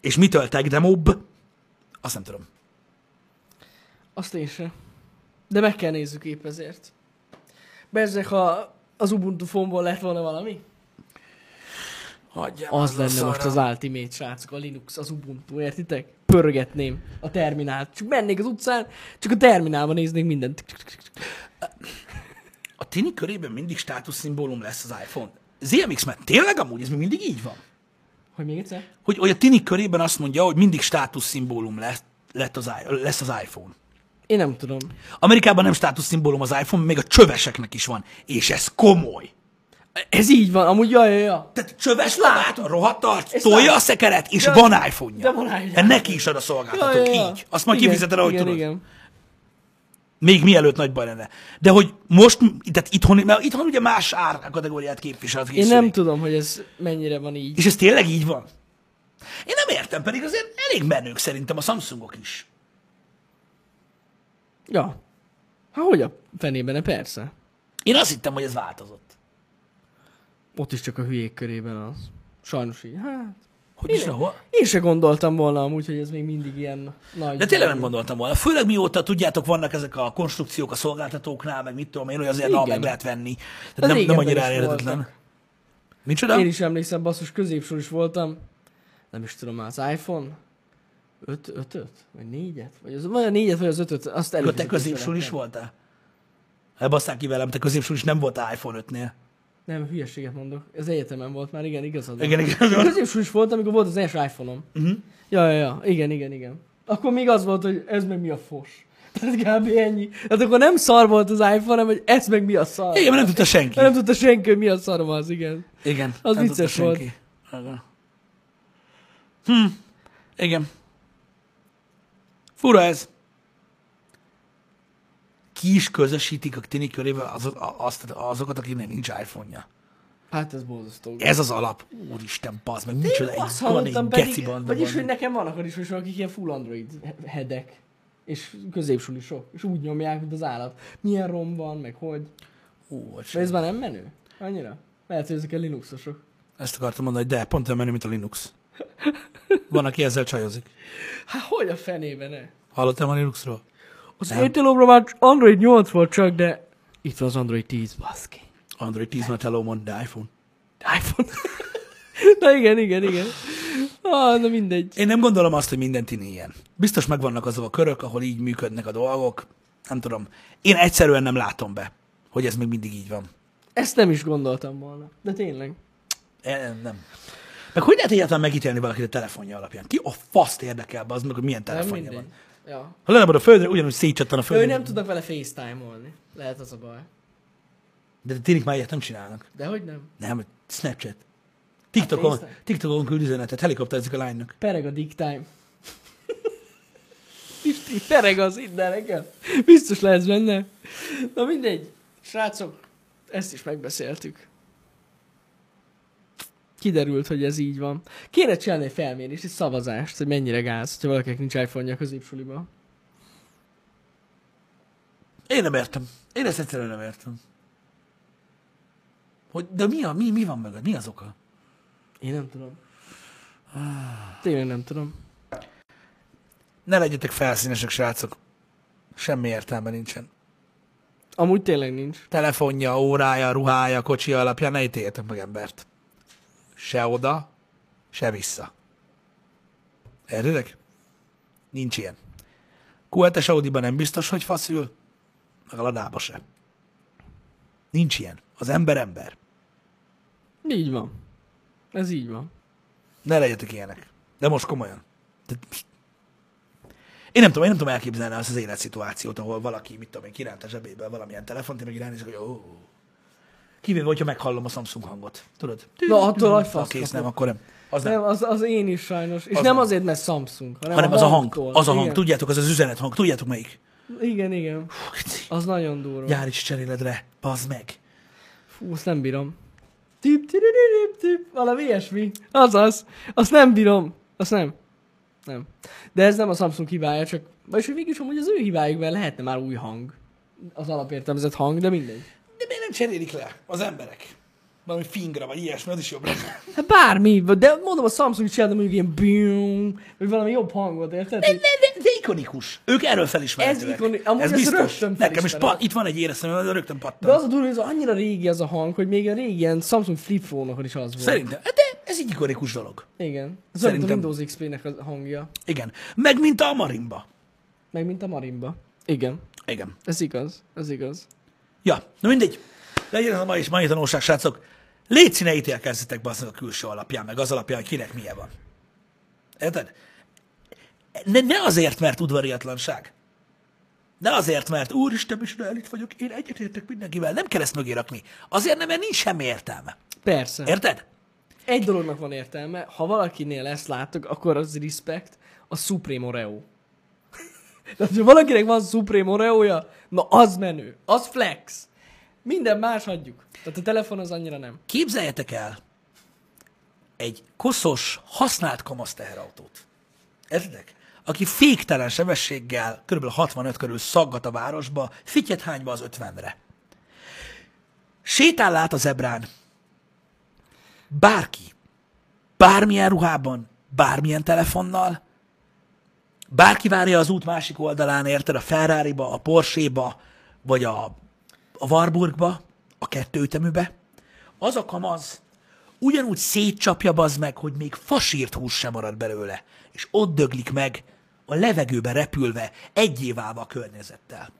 [SPEAKER 1] És mitől tegnemóbb? Azt nem tudom.
[SPEAKER 2] Azt én sem. De meg kell nézzük épp ezért. Bezzek, ha az Ubuntu fomból lett volna valami?
[SPEAKER 1] Hagyjam
[SPEAKER 2] Az lenne most az Ultimate, srácok, a Linux, az Ubuntu, értitek? Pörgetném a terminált. Csak mennék az utcán, csak a terminálban néznék mindent.
[SPEAKER 1] A tini körében mindig státuszszimbólum lesz az iPhone. ZMX, mert tényleg amúgy ez még mindig így van.
[SPEAKER 2] Hogy még egyszer?
[SPEAKER 1] Hogy, hogy a tini körében azt mondja, hogy mindig státuszszimbólum lesz, lett az, i- lesz az iPhone.
[SPEAKER 2] Én nem tudom.
[SPEAKER 1] Amerikában nem státuszszimbólum az iPhone, még a csöveseknek is van. És ez komoly.
[SPEAKER 2] Ez így van, amúgy jaj, jaj, jaj.
[SPEAKER 1] Tehát csöves lábát, a rohadt arc,
[SPEAKER 2] Ezt
[SPEAKER 1] tolja
[SPEAKER 2] látom.
[SPEAKER 1] a szekeret, és
[SPEAKER 2] Ja,
[SPEAKER 1] van iPhone-ja.
[SPEAKER 2] de van iPhone-ja.
[SPEAKER 1] Hát Neki is ad a szolgáltatók, így. Azt majd
[SPEAKER 2] Igen,
[SPEAKER 1] kifizeted, ahogy
[SPEAKER 2] igen,
[SPEAKER 1] tudod.
[SPEAKER 2] Igen,
[SPEAKER 1] Még mielőtt nagy baj lenne. De hogy most, tehát itthon, mert itthon ugye más árkategóriát képviselt
[SPEAKER 2] Én
[SPEAKER 1] készülék.
[SPEAKER 2] nem tudom, hogy ez mennyire van így.
[SPEAKER 1] És ez tényleg így van? Én nem értem, pedig azért elég menők szerintem a Samsungok is.
[SPEAKER 2] Ja. Há, hogy a fenében, ne, persze.
[SPEAKER 1] Én azt hittem, hogy ez változott.
[SPEAKER 2] Ott is csak a hülyék körében az. Sajnos így. Hát,
[SPEAKER 1] Hogy is, ahol?
[SPEAKER 2] én se gondoltam volna amúgy, hogy ez még mindig ilyen nagy.
[SPEAKER 1] De tényleg nem gondoltam volna. Főleg mióta, tudjátok, vannak ezek a konstrukciók a szolgáltatóknál, meg mit tudom én, hogy azért na,
[SPEAKER 2] Igen.
[SPEAKER 1] meg lehet venni.
[SPEAKER 2] Ez
[SPEAKER 1] Tehát nem, nem
[SPEAKER 2] régebben
[SPEAKER 1] annyira
[SPEAKER 2] is
[SPEAKER 1] elérhetetlen.
[SPEAKER 2] voltak.
[SPEAKER 1] Micsoda?
[SPEAKER 2] Én is emlékszem, basszus, középsor is voltam. Nem is tudom már, az iPhone 5 5 Vagy 4-et? Vagy, az, vagy a 4-et, vagy az 5 Azt
[SPEAKER 1] Akkor te
[SPEAKER 2] előfizetős
[SPEAKER 1] középsul is
[SPEAKER 2] lettem.
[SPEAKER 1] voltál? Elbaszták ki velem, te középsul is nem voltál iPhone 5-nél.
[SPEAKER 2] Nem, hülyeséget mondok. Ez egyetemen volt már, igen, igazad van.
[SPEAKER 1] Igen, Mhm. igen.
[SPEAKER 2] Középsor is volt, amikor volt az első iPhone-om. Uh-huh. Ja, ja, ja, igen, igen, igen. Akkor még az volt, hogy ez meg mi a fos. Tehát kb. ennyi. Tehát akkor nem szar volt az iPhone, hanem hogy ez meg mi a szar.
[SPEAKER 1] Igen, mert nem tudta senki.
[SPEAKER 2] Mert nem tudta senki, hogy mi a szar az, igen.
[SPEAKER 1] Igen.
[SPEAKER 2] Az
[SPEAKER 1] nem
[SPEAKER 2] vicces
[SPEAKER 1] tudta
[SPEAKER 2] volt.
[SPEAKER 1] senki. Igen. Hm. Igen. Fura ez. Ki is közösítik a tini körében azok, azt, azokat, akiknek nincs iPhone-ja.
[SPEAKER 2] Hát ez borzasztó.
[SPEAKER 1] Ez az alap. Úristen, bazd meg, micsoda egy,
[SPEAKER 2] Azt
[SPEAKER 1] van egy
[SPEAKER 2] hallottam
[SPEAKER 1] geci
[SPEAKER 2] pedig,
[SPEAKER 1] banda.
[SPEAKER 2] vagyis,
[SPEAKER 1] van.
[SPEAKER 2] hogy nekem vannak is ismerősök, akik ilyen full android hedek, és középsulisok, és úgy nyomják, mint az állat. Milyen rom van, meg hogy.
[SPEAKER 1] Ú, bocs.
[SPEAKER 2] De ez már nem menő? Annyira? Lehet, hogy ezek a linuxosok.
[SPEAKER 1] Ezt akartam mondani, hogy de, pont olyan menő, mint a Linux. Van, aki ezzel csajozik.
[SPEAKER 2] Hát hogy a fenébe ne?
[SPEAKER 1] Hallottam a Linuxról?
[SPEAKER 2] Az Intelomra már Android 8 volt csak, de itt van az Android 10, baszki.
[SPEAKER 1] Android 10 már teló mond, de iPhone.
[SPEAKER 2] iPhone. Na igen, igen, igen. Ah, na mindegy.
[SPEAKER 1] Én nem gondolom azt, hogy minden tini ilyen. Biztos megvannak azok a körök, ahol így működnek a dolgok. nem tudom. Én egyszerűen nem látom be, hogy ez még mindig így van.
[SPEAKER 2] Ezt nem is gondoltam volna. De tényleg.
[SPEAKER 1] E- Nem. Meg hogy lehet egyáltalán megítélni valakit a telefonja alapján? Ki a faszt érdekel be az meg, hogy milyen
[SPEAKER 2] Nem
[SPEAKER 1] telefonja
[SPEAKER 2] mindegy.
[SPEAKER 1] van?
[SPEAKER 2] Ja.
[SPEAKER 1] Ha lemarad a földre, ugyanúgy szétcsattan a
[SPEAKER 2] Ő
[SPEAKER 1] földre.
[SPEAKER 2] nem tudnak vele facetime-olni. Lehet az a baj.
[SPEAKER 1] De tényleg már ilyet nem csinálnak.
[SPEAKER 2] De hogy nem?
[SPEAKER 1] Nem, Snapchat. TikTokon,
[SPEAKER 2] FaceTime.
[SPEAKER 1] TikTokon küld üzenetet, helikopterezik a lánynak.
[SPEAKER 2] Pereg a dick time. Pisti, pereg az innen nekem. Biztos lesz benne. Na mindegy. Srácok, ezt is megbeszéltük. Kiderült, hogy ez így van. Kéne csinálni egy felmérést, egy szavazást, hogy mennyire gáz, hogyha valakinek nincs iPhone-ja középsuliba.
[SPEAKER 1] Én nem értem. Én ezt egyszerűen nem értem. Hogy, de mi, a, mi, mi van mögött? Mi az oka?
[SPEAKER 2] Én nem tudom. Tényleg nem tudom.
[SPEAKER 1] Ne legyetek felszínesek, srácok. Semmi értelme nincsen.
[SPEAKER 2] Amúgy tényleg nincs.
[SPEAKER 1] Telefonja, órája, ruhája, kocsi alapján ne ítéljetek meg embert. Se oda, se vissza. Értitek? Nincs ilyen. Q7-es Audi-ban nem biztos, hogy faszül, meg a ladába se. Nincs ilyen. Az ember ember.
[SPEAKER 2] Így van. Ez így van.
[SPEAKER 1] Ne legyetek ilyenek. De most komolyan. De... Én nem tudom, én nem tudom elképzelni azt az életszituációt, ahol valaki, mit tudom én, kiránt a zsebéből valamilyen telefont, én meg ránézek, hogy ó. Kivéve, hogyha meghallom a Samsung hangot. Tudod?
[SPEAKER 2] Na, attól nagy
[SPEAKER 1] Ha
[SPEAKER 2] fasz
[SPEAKER 1] kész,
[SPEAKER 2] kapok.
[SPEAKER 1] nem, akkor nem. Az nem.
[SPEAKER 2] Nem, az, az én is sajnos. És
[SPEAKER 1] Az
[SPEAKER 2] az nem
[SPEAKER 1] nem.
[SPEAKER 2] azért, mert Samsung, hanem,
[SPEAKER 1] Hanem
[SPEAKER 2] a
[SPEAKER 1] az a hang,
[SPEAKER 2] hangtól.
[SPEAKER 1] az a hang,
[SPEAKER 2] Igen.
[SPEAKER 1] tudjátok, az az üzenet hang, tudjátok melyik?
[SPEAKER 2] Igen, igen.
[SPEAKER 1] Hú, keci.
[SPEAKER 2] Az nagyon durva.
[SPEAKER 1] Jár is cseréledre, bazd meg.
[SPEAKER 2] Fú, azt nem bírom. Tip, tip, tip, tip, valami ilyesmi. Azaz. Azt nem bírom. Azt nem. Nem. De ez nem a Samsung hibája, csak... Vagyis, hogy mégis amúgy az ő hibájuk, mert lehetne már új hang. Az alapértelmezett hang, de mindegy.
[SPEAKER 1] De miért nem cserélik le az emberek? Valami fingra, vagy ilyesmi, az is jobb lenne.
[SPEAKER 2] Hát bármi, de mondom a Samsung csinálna mondjuk ilyen bűn, vagy valami jobb hangot, érted?
[SPEAKER 1] De, de, de ikonikus. Ők erről felismerhetőek.
[SPEAKER 2] Ez ikoni- amúgy ez rögtön
[SPEAKER 1] Nekem is
[SPEAKER 2] felismerem.
[SPEAKER 1] pat, itt van egy éreztem, az rögtön pattan.
[SPEAKER 2] De az a durva, hogy ez annyira régi az a hang, hogy még a régi ilyen Samsung flip phone is az volt.
[SPEAKER 1] Szerintem. Hát De ez egy ikonikus dolog.
[SPEAKER 2] Igen. Ez olyan, mint a
[SPEAKER 1] Szerintem-
[SPEAKER 2] Windows XP-nek a hangja.
[SPEAKER 1] Igen. Meg mint a marimba.
[SPEAKER 2] Meg mint a marimba. Igen.
[SPEAKER 1] Igen.
[SPEAKER 2] Ez igaz. Ez igaz.
[SPEAKER 1] Ja, na mindegy. Legyen ez a mai, mai tanulság, srácok. Légy színe ítélkezzetek bazdmeg a külső alapján, meg az alapján, hogy kinek milyen van. Érted? Ne, ne azért, mert udvariatlanság. Ne azért, mert úristen, is elit vagyok, én egyetértek mindenkivel, nem kell ezt mögé rakni. Azért nem, mert nincs semmi értelme.
[SPEAKER 2] Persze.
[SPEAKER 1] Érted?
[SPEAKER 2] Egy dolognak van értelme, ha valakinél ezt látok, akkor az respect, a Supreme Oreo. Tehát, ha valakinek van Supreme Oreója, na az menő, az flex. Minden más hagyjuk. Tehát a telefon az annyira nem.
[SPEAKER 1] Képzeljetek el egy koszos, használt kamasz teherautót. Értedek? Aki féktelen sebességgel kb. 65 körül szaggat a városba, fityet hányba az 50-re. Sétál át az ebrán. Bárki. Bármilyen ruhában, bármilyen telefonnal. Bárki várja az út másik oldalán, érted? A Ferrari-ba, a Porsche-ba, vagy a, a Warburgba, a kettőteműbe az a kamaz ugyanúgy szétcsapja bazd meg, hogy még fasírt hús sem marad belőle, és ott döglik meg, a levegőbe repülve, egyéválva a környezettel.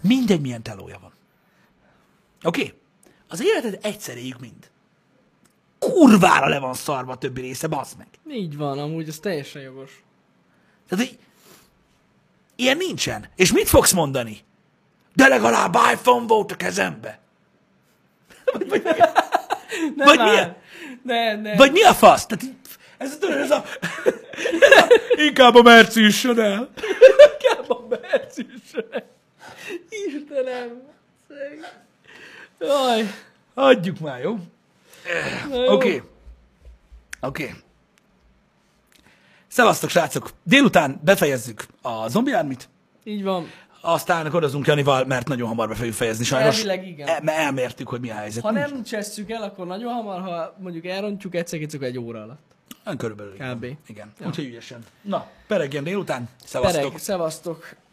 [SPEAKER 1] Mindegy, milyen telója van. Oké? Okay? Az életed egyszeréjük mind. Kurvára le van szarva a többi része, bazd meg.
[SPEAKER 2] Így van, amúgy ez teljesen jogos.
[SPEAKER 1] Tehát így, ilyen nincsen. És mit fogsz mondani? De legalább iPhone volt a kezembe.
[SPEAKER 2] Nem
[SPEAKER 1] Vagy
[SPEAKER 2] áll.
[SPEAKER 1] milyen?
[SPEAKER 2] Ne, ne.
[SPEAKER 1] Vagy mi a fasz? Tehát így, ez, tudod, ez a... Inkább a merci üssön el.
[SPEAKER 2] inkább a bercűsre. Istenem. Szeg. Jaj.
[SPEAKER 1] Adjuk már, jó?
[SPEAKER 2] na jó.
[SPEAKER 1] Oké. Okay. Oké. Okay. Szevasztok, srácok! Délután befejezzük a zombi ármit,
[SPEAKER 2] Így van.
[SPEAKER 1] aztán kodozunk Janival, mert nagyon hamar be fogjuk fejezni, sajnos.
[SPEAKER 2] Elvileg igen.
[SPEAKER 1] E- mert elmértük, hogy mi a helyzet.
[SPEAKER 2] Ha nem csesszük el, akkor nagyon hamar, ha mondjuk elrontjuk, egyszer egy óra alatt.
[SPEAKER 1] Ön körülbelül.
[SPEAKER 2] Kb.
[SPEAKER 1] Igen. Úgyhogy ügyesen. Na, peregjen délután. Szevasztok.
[SPEAKER 2] Pereg, szevasztok.